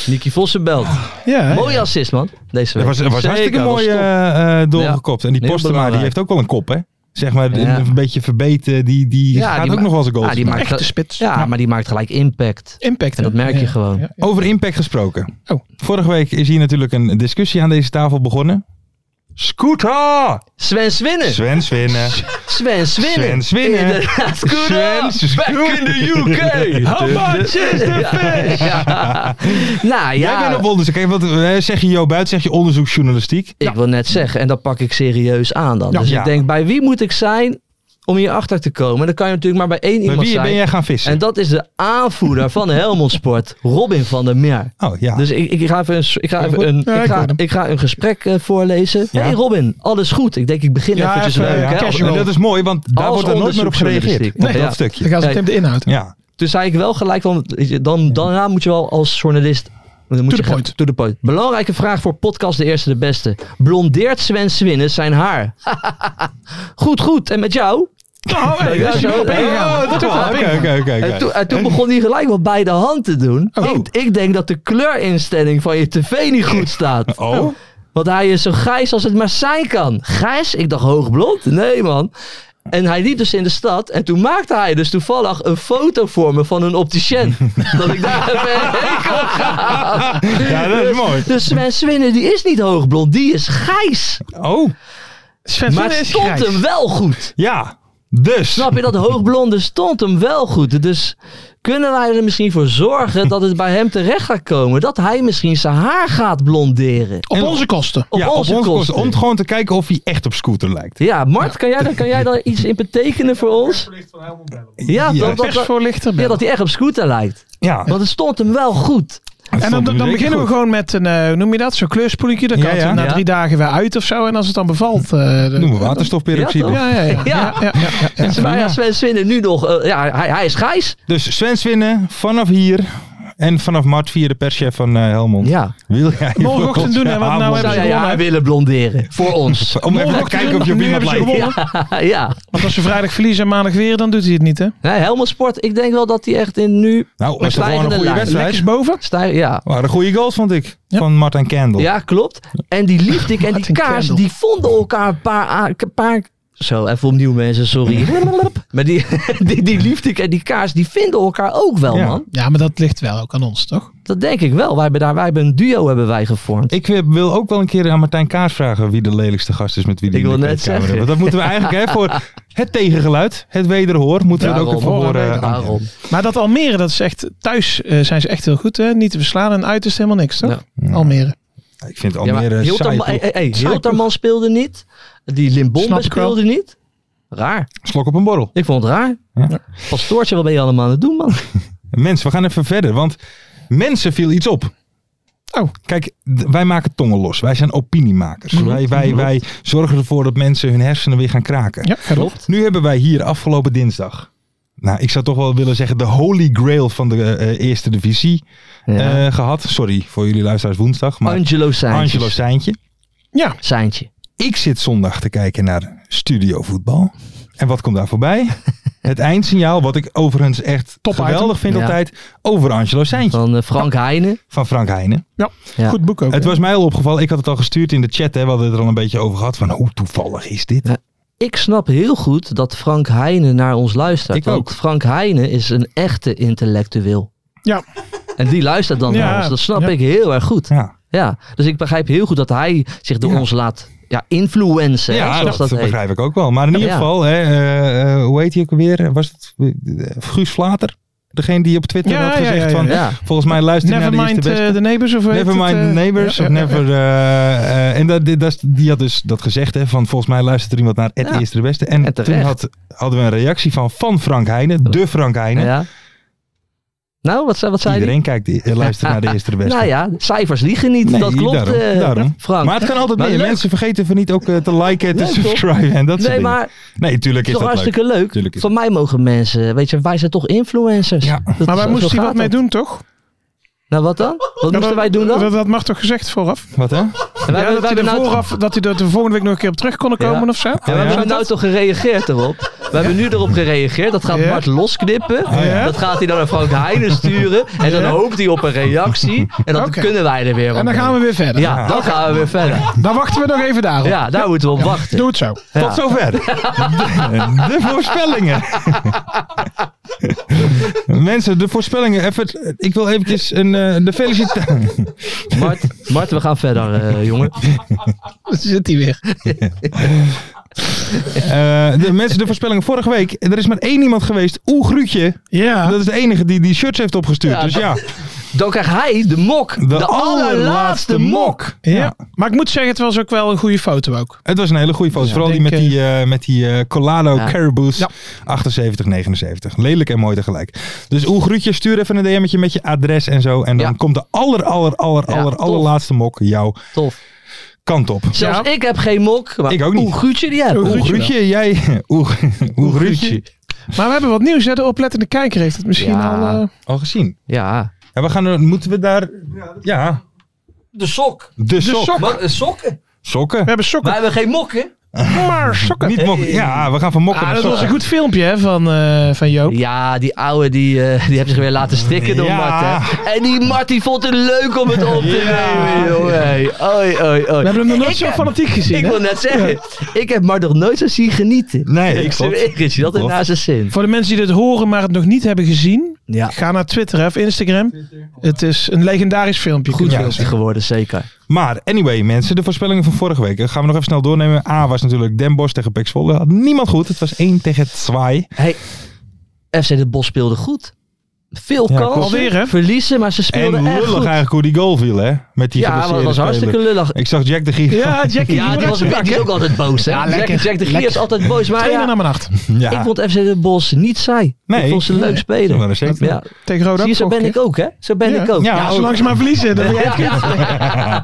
D: Nicky Vossen belt.
E: Ja, hè?
D: Mooie assist, man. Deze
C: Dat
D: week.
C: was, dat was
D: Zeker,
C: hartstikke
D: was
C: mooi
D: top.
C: eh, eh, doorgekopt. En die
D: Heel
C: Postema, die
D: belangrijk.
C: heeft ook wel een kop, hè? Zeg maar,
D: Ja.
C: een, een beetje verbeten. Die, die
D: Ja,
C: gaat
D: die
C: ook
D: ma-
C: nog wel eens een goal.
D: Ja, die maakt,
E: Echte
D: ge-
E: spits.
D: ja, maar die maakt gelijk impact.
E: Impact.
D: En dat
E: hè?
D: merk je
E: Ja.
D: gewoon.
E: Ja.
C: Over impact gesproken.
E: Oh.
C: Vorige week is hier natuurlijk een discussie aan deze tafel begonnen. Scooter!
D: Sven Swinnen.
C: Sven winnen.
D: Sven Swinnen.
C: Sven Swinnen.
D: Inderdaad, good
C: Sven
D: up. Back in the UK. How much is the fish? Ja. Nou ja.
C: Jij bent op onderzoek. Kijk, wat, eh, zeg je Jo Buit, zeg je onderzoeksjournalistiek.
D: Ik wil net zeggen, en dat pak ik serieus aan dan.
C: Ja.
D: dus
C: Ja.
D: ik denk, bij wie moet ik zijn om hierachter te komen? En dan kan je natuurlijk maar bij één
C: Bij
D: iemand
C: wie
D: zijn.
C: ben jij gaan vissen?
D: En dat is de aanvoerder van Helmond Sport, Robin van der Meer.
C: oh ja.
D: Dus ik, ik ga even, een, s- ik ga
C: Ja, goed.
D: even een,
E: Ja, ik
D: ik ga,
E: hoor hem.
D: ik ga een gesprek eh, voorlezen.
C: Ja. eh,
D: hey Robin, alles goed? Ik denk, ik begin
E: Ja,
D: eventjes
E: even,
D: leuk.
E: ja,
D: hè?
E: casual.
C: en dat is mooi, want daar
D: Als
C: wordt er nooit meer op gereageerd.
D: onderzoeksjournalistiek.
C: Op
D: Nee,
C: dat
D: ja.
E: Dan
C: stukje.
E: gaan ze
D: Hey.
E: meteen op de inhoud.
C: Ja.
D: Toen zei ik wel gelijk, want dan, daarna moet je wel als journalist... Dan moet
E: To
D: je
E: the
D: gaan-
E: point.
D: to the point. Belangrijke vraag voor podcast De Eerste De Beste. Blondeert Sven Swinnes zijn haar? goed, goed. En met jou?
E: Oh, hey, daar is je
D: Ja,
E: wel op
D: zo-
E: ingegaan.
D: Oh, dat
E: Toch
D: wel.
E: wel op
C: Oké,
E: ingegaan.
C: oké, oké,
D: En,
C: oké.
D: toen- en toen begon hij gelijk wat bij de hand te doen.
E: Oh.
D: Ik, ik denk dat de kleurinstelling van je tv niet goed staat.
C: Oh,
D: Want hij is zo grijs als het maar zijn kan. Grijs? Ik dacht hoogblond. Nee, man. En hij liep dus in de stad. En toen maakte hij dus toevallig een foto voor me van een opticien. dat ik daar even heen kon gaan.
C: ja, dat is mooi.
D: Dus Sven Swinnen, die is niet hoogblond. Die is grijs.
C: Oh,
E: Sven
D: maar
E: Sven
D: het
E: is
D: stond
E: grijs.
D: hem wel goed.
C: ja. Dus.
D: Snap je, dat hoogblonde stond hem wel goed. Dus kunnen wij er misschien voor zorgen dat het bij hem terecht gaat komen? Dat hij misschien zijn haar gaat blonderen.
E: Op onze kosten.
D: Op
C: ja,
D: onze
C: op onze kosten.
D: kosten.
C: Om gewoon te kijken of hij echt op scooter lijkt.
D: Ja, Mart, kan jij, daar- kan jij daar iets in betekenen voor ons? Ja,
C: Ja.
D: dat, dat, dat,
E: Persvoorlichter.
D: ja, dat hij echt op scooter lijkt.
C: Ja.
D: Want het stond hem wel goed.
E: En dan, dan beginnen we gewoon met een, eh, hoe noem je dat, zo'n kleurspoelinkje. Dan
C: Ja,
E: kan het
C: ja.
E: na
D: Ja.
E: drie dagen weer uit of zo. En als het dan bevalt... eh, dan-
C: Noemen we
D: Ja,
C: waterstofperoxide.
D: toch?
E: Ja, ja, ja.
D: Ja.
E: ja, ja, ja, ja.
D: Dus wij als Sven Swinnen nu nog... eh, ja, hij, hij is grijs.
C: Dus Sven winnen vanaf hier. En vanaf Mart via de perschef van eh, Helmond.
D: Ja.
C: Wil jij
E: Morgenochtend doen, hè, want nou
C: Ja,
D: Zou
E: hebben
D: jij je
E: gewonnen?
D: haar willen blonderen? Voor ons.
C: Om even te
E: Morgenochtend
C: kijken of je
E: doen,
C: op
E: nu
C: iemand
E: hebben ze
C: lijkt.
E: gewonnen.
D: ja.
E: Want als ze vrijdag verliezen en maandag weer, dan doet hij het niet, hè?
D: Nee, Helmond Sport, ik denk wel dat hij echt in nu...
C: Nou, was toch gewoon een
D: stijgende
C: goede
D: lijn.
C: wedstrijd.
E: Lekkers boven.
D: Stij, ja.
C: Waren goede goals, vond ik. Van Martin Kendall.
D: ja, klopt. En die liefde en die
E: Martin
D: kaars,
E: Kendall.
D: die vonden elkaar een paar... a- een paar zo, even opnieuw mensen, sorry. Maar die, die, die liefde en die kaars, die vinden elkaar ook wel,
C: Ja.
D: man.
E: Ja, maar dat ligt wel ook aan ons, toch?
D: Dat denk ik wel. Wij hebben, daar, wij hebben een duo hebben wij gevormd.
C: Ik wil- wil ook wel een keer aan Martijn Kaars vragen wie de lelijkste gast is met wie die
D: Ik wil
C: in de
D: net
C: kleedkamer
D: zeggen.
C: hebben. Want dat moeten we eigenlijk hè, voor het tegengeluid, het wederhoor, moeten we dat ook even
D: Daarom.
C: horen. eh, aan-
D: Daarom.
E: Maar dat Almere, dat is echt... Thuis eh, zijn ze echt heel goed, hè? Niet te verslaan en uit is helemaal niks, toch? Almere.
C: Ik vind
D: Ja, maar
C: Almere ja,
D: Hilterman-
C: eh, saai.
D: hey, hey, hey,
E: Saai
D: Hilterman speelde niet. Die Limbombe
E: Snap ik wel.
D: speelde niet. Raar.
C: Slok op een borrel.
D: Ik vond het raar.
C: Ja.
D: Pastoortje, wat ben je allemaal aan het doen, man?
C: Mensen, we gaan even verder, want mensen viel iets op.
E: Oh. Mhm.
C: Kijk, d- wij maken tongen los. Wij zijn opiniemakers. Wij, wij, wij zorgen ervoor dat mensen hun hersenen weer gaan kraken.
E: Ja, ga door.
C: Nu hebben wij hier afgelopen dinsdag. Nou, ik zou toch wel willen zeggen de holy grail van de eh, eerste divisie
D: Ja.
C: eh, gehad. Sorry voor jullie luisteraars woensdag.
E: Oh,
C: Maar
D: Angelo Seintje.
C: Angelo Seintje.
E: Ja,
D: Seintje.
C: Ik zit zondag te kijken naar Studio Voetbal. En wat komt daar voorbij? Het eindsignaal, wat ik overigens echt
E: Top
C: geweldig
E: item.
C: vind
D: Ja.
C: altijd, over Angelo Seintje
D: Van eh, Frank Heijnen.
C: van Frank Heijnen.
D: Ja.
E: goed boek ook.
C: Het was mij al opgevallen, ik had het al gestuurd in de chat, hè, we hadden het er al een beetje over gehad, van hoe toevallig is dit?
D: Ja. Ik snap heel goed dat Frank Heijnen naar ons luistert.
E: Ik
D: want
E: ook.
D: Frank Heijnen is een echte intellectueel.
E: Ja.
D: En die luistert dan
E: Ja.
D: naar ons. Dat snap
E: Ja.
D: ik heel erg goed.
C: Ja.
D: Dus ik begrijp heel goed dat hij zich door
C: Ja.
D: ons laat ja, influencen. hè,
C: Ja,
D: zoals
C: dat,
D: dat, heet.
C: begrijp ik ook wel. Maar in
D: Ja,
C: ieder
D: ja.
C: geval, hè, eh, eh, hoe heet hij ook weer? Was het eh, Guus Vlater? Degene die op Twitter
E: Ja,
C: had
E: ja, ja,
C: gezegd van,
E: ja.
C: volgens mij luister naar die is
E: Nevermind
C: de beste.
E: eh, the neighbors of hoe heet
C: Never
E: het,
C: mind
E: eh?
C: neighbors.
E: Ja,
C: Of
E: ja,
C: never, eh, eh, en dat, dit- dat, is- die had dus dat gezegd. Hè, van volgens mij luistert er iemand naar het
D: Ja.
C: eerste de beste. En,
D: En
C: toen
D: terecht.
C: had, hadden we een reactie van, van Frank Heijnen. De Frank Heijnen.
D: Ja. Nou, wat, zei- wat zei
C: Iedereen kijkt, eh, luistert naar de eerste de
D: die?
C: beste.
D: Nou ja, cijfers liegen niet.
C: Nee,
D: dat klopt,
C: daarom,
D: eh,
C: daarom.
D: Frank.
C: Maar het kan altijd
D: Maar
C: meer.
D: leuk.
C: Mensen vergeten van niet ook eh, te liken, te
D: Leuk, toch?
C: subscriben en dat soort
D: Nee,
C: dingen.
D: maar
C: nee, tuurlijk
D: Het
C: is
D: is toch
C: dat
D: hartstikke
C: leuk.
D: leuk.
C: Tuurlijk is
D: Van mij mogen mensen, weet je, wij zijn toch influencers.
C: Ja.
D: Dat
E: Maar
D: is-
E: waar
D: zo
E: moest hij
D: gaat
E: wat mee
D: dat.
E: doen, toch?
D: Nou, wat dan? Wat
E: Ja,
D: moesten
E: dat-
D: wij doen dan?
E: Dat, dat mag toch gezegd vooraf?
C: Wat hè?
D: En wij,
E: Ja, dat,
D: wij
E: hij
D: hebben
E: er
D: nou,
E: vooraf, dat hij er de volgende week nog een keer op terug kon komen
D: Ja.
E: of zo?
D: Ja, we
C: Ja.
D: hebben nou toch gereageerd erop. We hebben nu erop gereageerd. Dat gaat
E: Ja. Ah,
D: Bart losknippen.
E: ja?
D: Dat gaat hij dan naar Frank Heijnen sturen. En dan
E: Ja.
D: hoopt hij op een reactie. En dan
E: Oké.
D: kunnen wij er weer wat
E: En dan
D: mee.
E: gaan we weer verder.
D: Ja, dan gaan we weer verder.
E: Dan wachten we nog even daarop.
D: Ja, daar moeten we op wachten.
E: Doe het zo.
D: Ja.
C: Tot zover. De, de voorspellingen. Mensen, de voorspellingen. Even, ik wil eventjes een, eh, de felicitatie.
D: Mart, Mart, we gaan verder, eh, jongen.
E: Dan zit hij weer.
C: Eh, de mensen, de voorspellingen vorige week. Er is maar één iemand geweest. Oeh, Gruutje.
E: Ja.
C: Dat is de enige die die shirts heeft opgestuurd.
D: Ja,
C: dus ja,
D: Dan krijgt hij de mok. De, allerlaatste mok.
E: Ja. Maar ik moet zeggen, het was ook wel een goede foto ook.
C: Het was een hele goede foto. Vooral die
E: denk,
C: met die, eh, met die eh, Colado
D: Ja.
C: Caribous 78, 79. Lelijk en mooi tegelijk. Dus Oeh, Gruutje, stuur even een DM'tje met je adres en zo. En dan
D: Ja.
C: komt de aller, aller, aller,
D: Ja,
C: aller,
D: tof.
C: allerlaatste mok jouw
D: Tof.
C: kant op.
D: Zelfs ik heb geen mok. Maar
C: Ik ook niet.
D: Hoe Guutje die heb.
E: Oeh,
C: Oeh,
E: Gruutje
C: Gruutje, jij... Oeh, Oeh, Gruutje.
E: Maar we hebben wat nieuws. Hè? De oplettende kijker heeft het misschien
D: Ja.
E: al... eh,
C: Al gezien.
D: Ja.
C: Ja, we gaan, er- moeten we daar... Ja,
D: De sok.
C: de, sok.
E: sok.
D: Maar, eh, sokken?
C: Sokken.
E: we hebben
D: Wij
E: sokken.
D: hebben geen mokken.
E: Maar sokken.
C: Niet mokken. Ja, we gaan van mokken
E: Ah,
C: naar
E: dat was
C: sokken.
E: een goed filmpje hè, van, eh, van Joop.
D: Ja, die ouwe die, eh, die heeft zich weer laten stikken door
C: Ja.
D: Mart. Hè? En die Mart die vond het leuk om het op te nemen, joh. Hey, Oi, oi,
E: We
D: oi.
E: hebben hem nog nooit
D: Ik
E: zo
D: heb-
E: fanatiek gezien.
D: Ik
E: hè?
D: wil net zeggen, ik heb Mart nog nooit zo zien genieten.
C: Nee,
D: ik
C: klopt.
D: zweer het je, dat is
C: Klopt.
D: naast zijn zin.
E: Voor de mensen die dit horen, maar het nog niet hebben gezien,
D: Ja,
E: ga naar Twitter hè, of Instagram. Het is een legendarisch filmpje.
D: goed
E: Ja.
D: filmpje geworden, zeker.
C: Maar anyway, mensen, de voorspellingen van vorige week. eh, Gaan we nog even snel doornemen. A was natuurlijk Den Bosch tegen Pek Zwolle. Had niemand goed. Het was 1 tegen 2.
D: Hey, FC De Bos speelde goed. Veel
C: Ja,
D: kansen,
C: klopt.
E: Alweer, hè?
D: verliezen, maar ze
C: En
D: speelden echt
C: lullig
D: goed.
C: eigenlijk hoe die goal viel, hè? Met die
D: Ja, dat
C: geblesseerde
D: was
C: speler.
D: hartstikke lullig.
C: Ik zag Jack de Gier.
E: Ja, Jackie,
D: Ja, die, was, die is ook altijd boos. Hè?
E: Ja,
D: Jack,
E: lekker.
D: Jack de Gier
E: Lekker.
D: is altijd boos. Maar
E: Trainer
D: ja,
E: naar mijn acht.
C: Ja.
D: ik vond FC Den Bosch niet saai.
C: Nee.
D: Ik vond ze leuk spelen.
C: maar dat zeker.
D: Ja.
E: Tegen Roda.
D: Zie je, zo
E: vorige
D: ben ik
E: keer.
D: ook, hè? Zo ben
E: Ja.
D: ik ook.
C: Ja,
E: Ja,
C: ook.
E: zolang ze maar verliezen. Dan ben jij het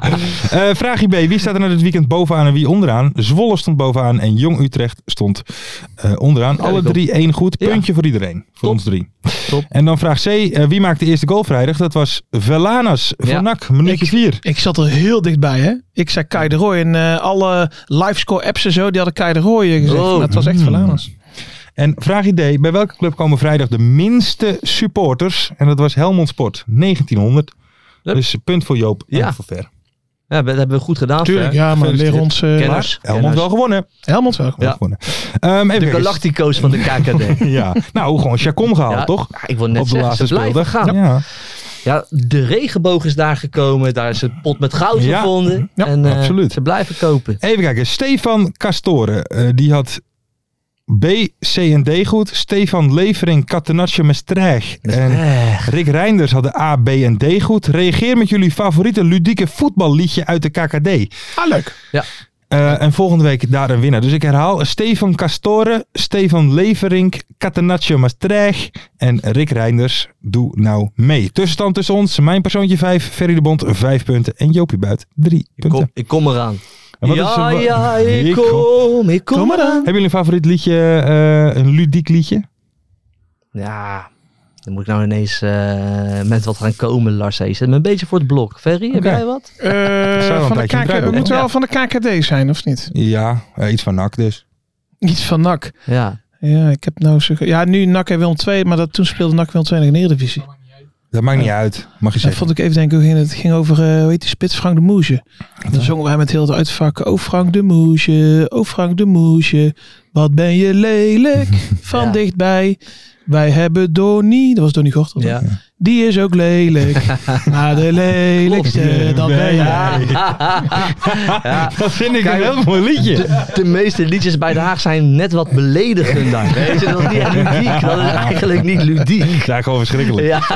E: kind.
C: Eh, vraagje B. Wie staat er na dit weekend bovenaan en wie onderaan? Zwolle stond bovenaan en Jong Utrecht stond eh, onderaan. Alle
D: ik ook.
C: drie één goed.
D: Ja.
C: Puntje voor iedereen. Voor
D: Top.
C: ons drie.
D: Top.
C: En dan vraag C. eh, wie maakte de eerste goal vrijdag? Dat was Velanas van
D: Ja.
C: NAC. Minuutje
E: Ik-
C: 4.
E: Ik zat er heel dichtbij, hè. Ik zei Kai de Roy en eh, alle livescore apps en zo, die hadden Kai de Roy eh, gezegd.
D: Oh.
E: Maar het was echt
C: Hmm.
E: Verlaners.
C: En vraag idee, bij welke club komen vrijdag de minste supporters? En dat was Helmond Sport, 1900.
D: Hup.
C: Dus punt voor Joop en
D: Ja.
C: voor Ver.
D: Ja, dat hebben we goed gedaan.
E: Tuurlijk,
D: Fer.
E: ja, maar leer ons... eh,
D: Kenners.
C: Helmond wel gewonnen.
E: Helmond wel.
D: Ja.
C: gewonnen. Ehm,
D: De
C: even kijken.
D: Galactico's van de KKD.
C: Ja, nou gewoon Chacon gehaald,
D: Ja,
C: toch?
D: ja, ik wil net
C: Op de
D: zeggen,
C: laatste
D: ze blijven
C: speeldag.
D: gaan.
C: Ja,
D: Ja, de regenboog is daar gekomen. Daar is een pot met goud
C: Ja.
D: gevonden.
C: Ja,
D: en eh,
C: absoluut.
D: ze blijven kopen.
C: Even kijken, Stefan Castoren, eh, die had B, C en D goed. Stefan Levering, Catenaccio Maastricht en
D: Eh,
C: Rick Reinders hadden A, B en D goed. Reageer met jullie favoriete ludieke voetballiedje uit de KKD.
E: Ah, leuk.
C: Eh, en volgende week daar een winnaar. Dus ik herhaal: Stefan Castoren, Stefan Leverink, Catenaccio Maastricht en Rick Reinders. Doe nou mee. Tussenstand tussen ons: mijn persoontje 5, Ferry de Bond 5 punten en Jopie Buit 3
D: ik, kom,
C: punten.
D: ik kom eraan.
C: En wat is-
D: ja,
C: wa-
D: ja, ik,
C: Ik kom.
D: kom. Ik kom,
E: Kom maar
D: eraan.
C: Hebben jullie een favoriet liedje, eh, een ludiek liedje?
D: Ja, dan moet ik nou ineens eh, met wat gaan komen, Lars. Hey, Zet me een beetje voor het blok. Ferry, heb
C: Oké.
D: jij wat?
E: Eh,
C: wel een
E: van de
C: tijdje in
E: KK,
C: het
E: het moet
C: draaiboek.
E: wel van de KKD zijn, of niet?
C: Ja, eh, iets van NAC dus.
E: Niet van NAC.
D: Ja.
E: Ja, ik heb nou zo... Ja, nu NAC en Willem 2, maar dat, toen speelde NAC en Willem 2 in de Eredivisie.
C: Dat maakt niet uit. Mag je
E: Dat
C: zeggen.
E: vond ik even denken, hoe ging het Het ging over, eh hoe heet die spits, Frank de Moesje. En dan zongen wij met heel het uitvak, oh Frank de Moesje, oh Frank de Moesje, wat ben je lelijk van
D: Ja.
E: dichtbij. Wij hebben Donnie, dat was Donnie Gortel,
D: Ja.
E: die is ook lelijk, maar de lelijkste, dat ben jij.
D: Ja.
C: Dat vind ik
D: Kijk,
C: een heel mooi liedje.
D: De, de meeste liedjes bij Den Haag zijn net wat beledigender. Weet je, dat is niet echt ludiek. Dat is eigenlijk niet ludiek.
C: Ja, gewoon verschrikkelijk.
D: Ja.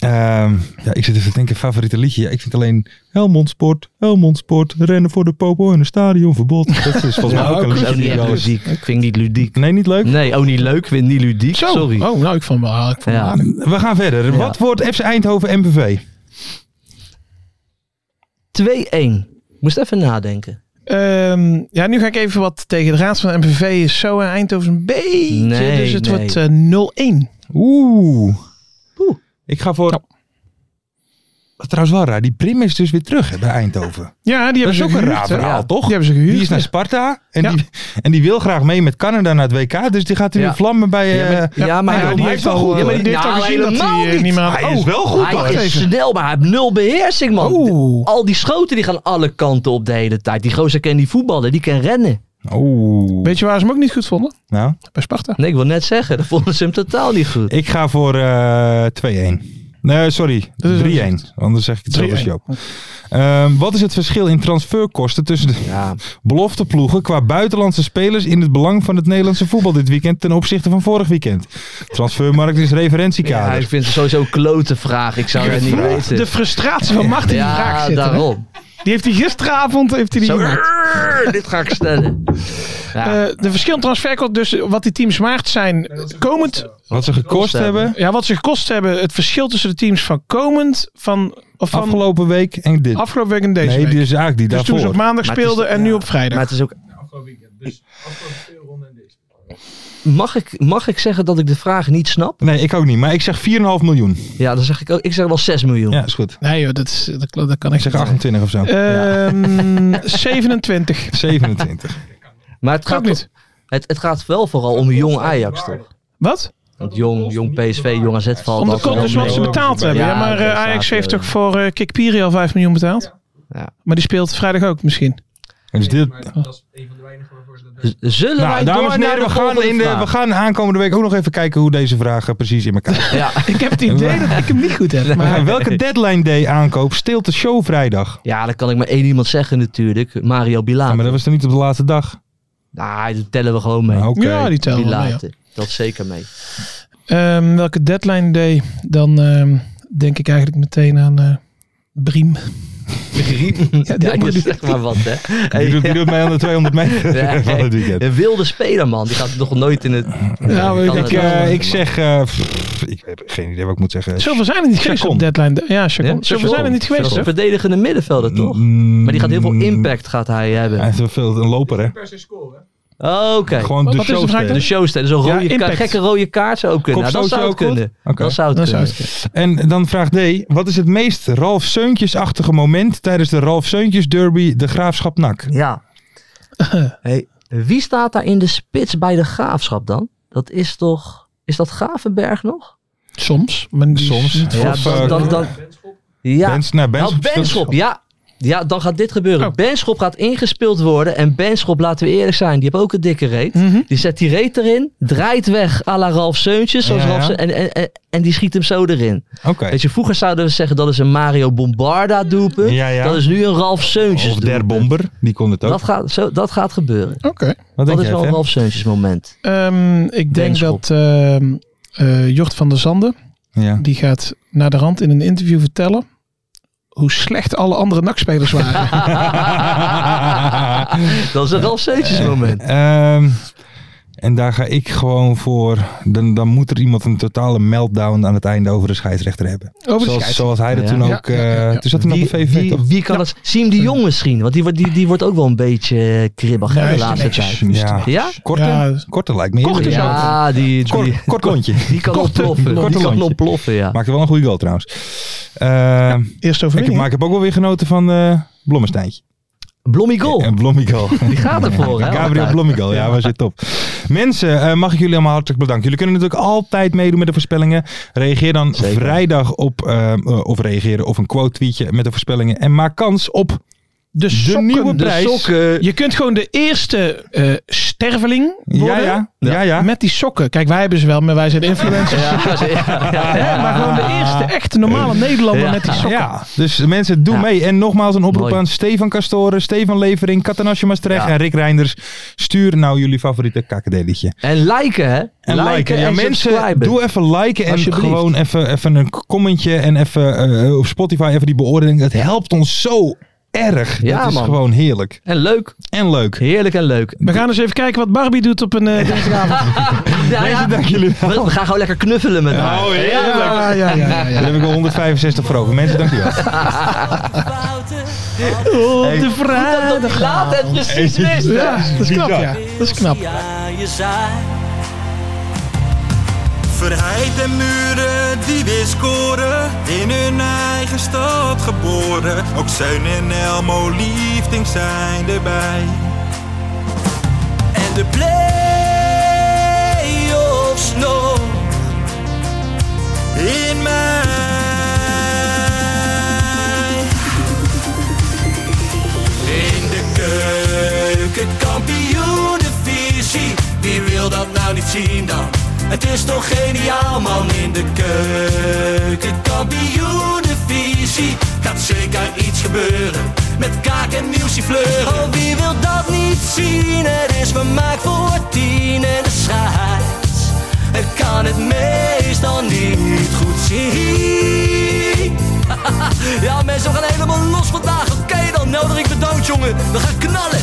C: Ehm, ja, ik zit even te denken, favoriete liedje. Ja, ik vind alleen Helmond Sport, Helmond Sport, rennen voor de popo en een stadionverbod. Dat is volgens mij ook een
D: dat is
C: liedje
D: ook niet
C: die
D: echt
C: wel eens-
D: ludiek. Ik vind het niet ludiek.
C: Nee, niet leuk?
D: Nee, ook niet leuk. Ik vind het niet ludiek.
E: Zo,
D: Sorry.
E: oh nou, ik vond hem wel ik vond hem
D: Ja.
E: aardig.
C: We gaan verder.
D: Ja.
C: Wat wordt FC Eindhoven MVV?
D: 2-1. Moest even nadenken.
E: Ehm, ja, nu ga ik even wat tegen de raad van de MVV is zo en Eindhoven een beetje.
D: Nee,
E: dus het
D: nee.
E: wordt eh, 0-1.
C: Oeh.
D: Oeh.
C: Ik ga voor...
E: Nou.
C: Wat trouwens wel raar, die Prim is dus weer terug hè, bij Eindhoven.
E: Ja, die
C: Dat
E: hebben
C: is
E: ze
C: ook een
E: gehuurd,
C: raar
E: hè?
C: verhaal,
E: Ja,
C: toch?
E: Die hebben ze
C: Die
E: gehuurd.
C: is naar Sparta en,
E: Ja.
C: die, en die wil graag mee met Canada naar het WK. Dus die gaat nu
D: Ja.
C: in vlammen bij... eh,
D: Ja, maar
C: hij
D: hij
C: heeft wel goed,
D: Ja, maar
C: hoor.
D: die heeft al gezien dat hij, eh,
E: niet meer Oh. aan
C: hij is wel goed. hoor.
D: Hij is snel, maar hij heeft nul beheersing, man.
E: Oeh.
D: Al die schoten die gaan alle kanten op de hele tijd. Die gozer kan die voetballen, die kan rennen.
C: Oeh.
E: Weet je waar ze hem ook niet goed vonden?
C: Nou,
E: Bij Sparta.
D: Nee, ik wil net zeggen, dat vonden ze hem totaal niet goed.
C: ik ga voor eh 2-1. Nee, sorry.
E: is
C: 3-1. Anders zeg ik het zo als
E: 3-1.
C: Joop. Ehm, wat is het verschil in transferkosten tussen de
D: Ja,
C: belofteploegen qua buitenlandse spelers in het belang van het Nederlandse voetbal dit weekend ten opzichte van vorig weekend? Transfermarkt is
D: ja ik
C: referentiekader.
D: vind het sowieso een klote vraag. Ik zou het niet weten.
E: De frustratie van Martin die vraag
D: ja,
E: zitten. hè?
D: daarom.
E: Die heeft hij gisteravond heeft hij die eh,
D: Zo,
E: gemaakt.
D: "Urgh, dit ga ik stellen. Ja,
E: Eh, de verschillende transferkosten, dus wat die teams waard zijn komend.
C: Wat ze gekost
D: Kosten
C: hebben
E: Ja, wat ze gekost hebben. Het verschil tussen de teams van komend, van, of van afgelopen,
C: afgelopen week en dit.
E: week en deze
C: Nee,
E: week.
C: die is eigenlijk die
E: dus toen ze op
C: daarvoor.
E: maandag
D: Maar het
E: speelden
D: is-
E: en nu op vrijdag.
D: maar het is ook... Mag ik, mag ik zeggen dat ik de vraag niet snap?
C: Nee, ik ook niet. Maar ik zeg 4,5 miljoen.
D: Ja, dan zeg ik ook. Ik zeg wel 6 miljoen.
C: Ja, is goed.
E: Nee joh, dat, is, dat, dat kan
C: Ik
E: ik
C: zeg
E: niet.
C: 28 of zo.
E: Eh. Ehm, 27.
C: 27.
D: Maar het gaat,
E: Ook niet.
D: Het, het gaat wel vooral om jong Ajax, toch?
E: Wat?
D: Want jong, jong PSV, jong AZ valt
E: Om de
D: altijd wel
E: kotters wat
D: mee.
E: ze betaald hebben. Ja,
D: Ja,
E: maar
D: dat
E: eh,
D: is
E: Ajax
D: later,
E: heeft
D: ja.
E: toch voor eh, Kikpiri al 5 miljoen betaald?
D: Ja.
E: Maar die speelt vrijdag ook misschien.
C: Dus dit,
D: Z- Zullen wij
C: Nou, dames
D: door
C: en
D: naar
C: heren,
D: de
C: we gaan,
D: volgende
C: in de, we
D: vraag?
C: gaan aankomende week ook nog even kijken hoe deze vraag eh, precies in elkaar zit.
D: Ja.
E: Ik heb het idee dat ik hem niet goed heb.
C: We gaan-
E: Maar
C: Welke deadline day aankoop steelt de show vrijdag?
D: ja, dan kan ik maar één iemand zeggen natuurlijk. Mario
C: Ja,
D: Bilater.
C: maar dat was dan niet op de laatste dag.
D: Nou, dat tellen we gewoon mee.
C: Nou, Oké.
E: ja, die tellen wel, ja.
D: Bilate. Dat zeker mee.
E: Ehm, welke deadline day? Dan ehm, denk ik eigenlijk meteen aan eh Briem.
D: ja,
E: dat
D: dat
E: moet
D: is
E: ik.
D: zeg maar wat, hè. Hey,
C: Die doet, die doet mij aan de 200 meter
D: Nee.
C: van het weekend.
D: Een wilde speler, man. Die gaat nog nooit in het...
E: Ja,
D: die
E: ik-
D: kan
C: Ik,
D: het wel,
C: eh,
D: man.
C: ik zeg... eh, pff, ik heb geen idee wat ik moet zeggen.
E: Zoveel zijn er niet geweest
C: Chacon.
E: op deadline day. Ja, Chacon.
D: eh, Ja,
E: Zoveel zijn er niet
D: Dat
E: geweest,
D: is
E: hè?
D: een verdedigende middenvelder, toch?
C: Mm,
D: Maar die gaat heel veel impact gaat hij
C: Hij
D: hebben.
C: heeft wel veel een loper, hè?
D: Oké.
C: Gewoon de
E: Wat is de vraag
C: show.
D: De showster, zo'n
E: Ja,
D: rode ka-
E: impact.
D: gekke rode kaart zou ook kunnen. Nou, dat
C: Kopstootje
D: zou het
C: ook goed?
D: kunnen.
C: Oké.
D: Dat zou het
E: Dat zou
D: kunnen.
E: het kunnen.
C: En dan vraag D. Wat is het meest Ralf Seuntjes-achtige moment tijdens de Ralf Seuntjes derby de Graafschap NAC?
D: Ja. Hey, wie staat daar in de spits bij de graafschap dan? Dat is toch. Is dat Gravenberg nog?
E: Soms. Maar die-
C: Soms.
D: Ja,
C: Of,
D: dan.
C: eh,
D: dan, dan ja,
C: Bens, nou,
D: Nou,
C: Benschop.
D: Benschop, ja. Ja, dan gaat dit gebeuren.
E: Oh.
D: Benschop gaat ingespeeld worden. En Benschop, laten we eerlijk zijn, die heeft ook een dikke reet.
C: Hm.
E: Mhm.
D: Die zet die reet erin, draait weg à la Ralf Seuntjes. Zoals
C: Ja,
D: Ralf
C: ja.
D: Seu- en, en, en, en die schiet hem zo erin.
C: Oké.
D: Weet je, vroeger zouden we zeggen dat is een Mario Bombarda doelpunt.
C: Ja, ja.
D: Dat is nu een Ralf Seuntjes
C: Of Der
D: doelpunt.
C: Bomber, die kon het ook.
D: Dat gaat, zo, dat gaat gebeuren.
E: Oké.
C: Wat
D: Dat
C: denk
D: is
C: jij,
D: wel een
C: Fem?
D: Ralf Seuntjes moment.
E: Ehm, ik denk
D: Benschop.
E: dat ehm, eh, Jort van der Zanden,
C: Ja.
E: die gaat naar de rand in een interview vertellen hoe slecht alle andere nakspelers waren.
D: dat is een Ralf Seuntjes moment.
C: Ehm, en daar ga ik gewoon voor. Dan, dan moet er iemand een totale meltdown aan het einde over de scheidsrechter hebben.
E: Over de
C: Zoals,
E: scheids.
C: zoals hij dat
D: Ja.
C: toen
E: Ja,
C: ook. eh
E: ja, ja, ja.
C: Toen zat hij nog
D: Wie,
C: op de VVV.
D: wie,
C: toch?
D: wie kan dat? Siem de Jong misschien, want die, wordt- die, die wordt ook wel een beetje eh, kribbig hè,
E: Nee,
D: de
E: is
D: laatste
E: netjes.
D: tijd.
C: Ja.
D: Ja?
C: Korte,
E: Ja.
C: korte lijkt me.
E: Korte
C: eerlijk.
E: zou-
D: Ja, die, die,
C: Kort, kort lontje.
D: die kan
C: korte-
D: ontploffen.
C: korte
D: die kan
C: lontje.
D: ontploffen, ja.
C: Maakte wel een goede goal trouwens. Ehm,
E: Eerst
C: ik, heb-
E: overwinning.
C: maar ik heb ook wel weer genoten van eh Blommesteintje.
D: Blommigol.
C: En Blommigal.
D: Die gaat ervoor, hè?
C: Gabriel
D: altijd.
C: Blommigal, ja, was zit top. Mensen, eh, mag ik jullie allemaal hartelijk bedanken. Jullie kunnen natuurlijk altijd meedoen met de voorspellingen. Reageer dan
D: Zeker.
C: vrijdag op, eh, eh, of reageren, of een quote tweetje met de voorspellingen. En maak kans op
E: De, sokken.
C: nieuwe
D: De
C: prijs.
D: sokken.
E: Je kunt gewoon de eerste eh, sterveling
C: Ja,
E: worden
C: ja, ja, ja.
E: met die sokken. Kijk, wij hebben ze wel, maar wij zijn influencers.
D: Ja, ze- ja, ja.
E: Hè? Maar gewoon de eerste echte normale Nederlander
D: Ja.
E: met die sokken.
C: Ja, dus mensen, doe
D: Ja.
C: mee. En nogmaals een oproep
D: Mooi.
C: aan Stefan Castoren, Stefan Levering, Katanasje Maastricht
D: Ja.
C: en Rick Reinders. Stuur nou jullie favoriete kakkedellietje.
D: En liken, hè?
C: En liken. Ja, mensen,
D: subscriben.
C: doe even liken en
D: Alsjeblieft.
C: gewoon even, even een commentje en even eh, op Spotify even die beoordeling. Dat helpt ons zo erg.
D: Ja,
C: dat is
D: man.
C: gewoon heerlijk.
D: En leuk.
C: En leuk.
D: Heerlijk en leuk.
E: We gaan eens even kijken wat Barbie doet op een eh, dinsdagavond.
D: Ja, ja.
C: Dank jullie wel.
D: We, we gaan gewoon lekker knuffelen met haar.
C: Oh, heerlijk.
E: ja, ja, ja. ja.
C: Daar heb ik al 165 voor over. Mensen, dankjewel.
E: Op de
D: Dat hij
E: vrijdag.
D: laat het precies wist. hè?
E: Ja, dat is knap, ja. Dat is knap.
A: Ja, je zei.
B: Verheid en muren die weer scoren, in hun eigen stad geboren. Ook Zijn en Elmo liefding zijn erbij.
A: en de play-offs nog.
B: In mij.
A: In de keuken, kampioenenvisie. Wie wil dat nou niet zien dan? Het is toch geniaal man in de keuken, kampioenenvisie. Gaat zeker iets gebeuren met kaak en nieuwsie fleuren. Oh, wie wil dat niet zien? Het is vermaakt voor tien en de scheids. Het kan het meestal niet goed zien. Ja, mensen, we gaan helemaal los vandaag. Oké dan, nodig ik bedankt, jongen. We gaan knallen.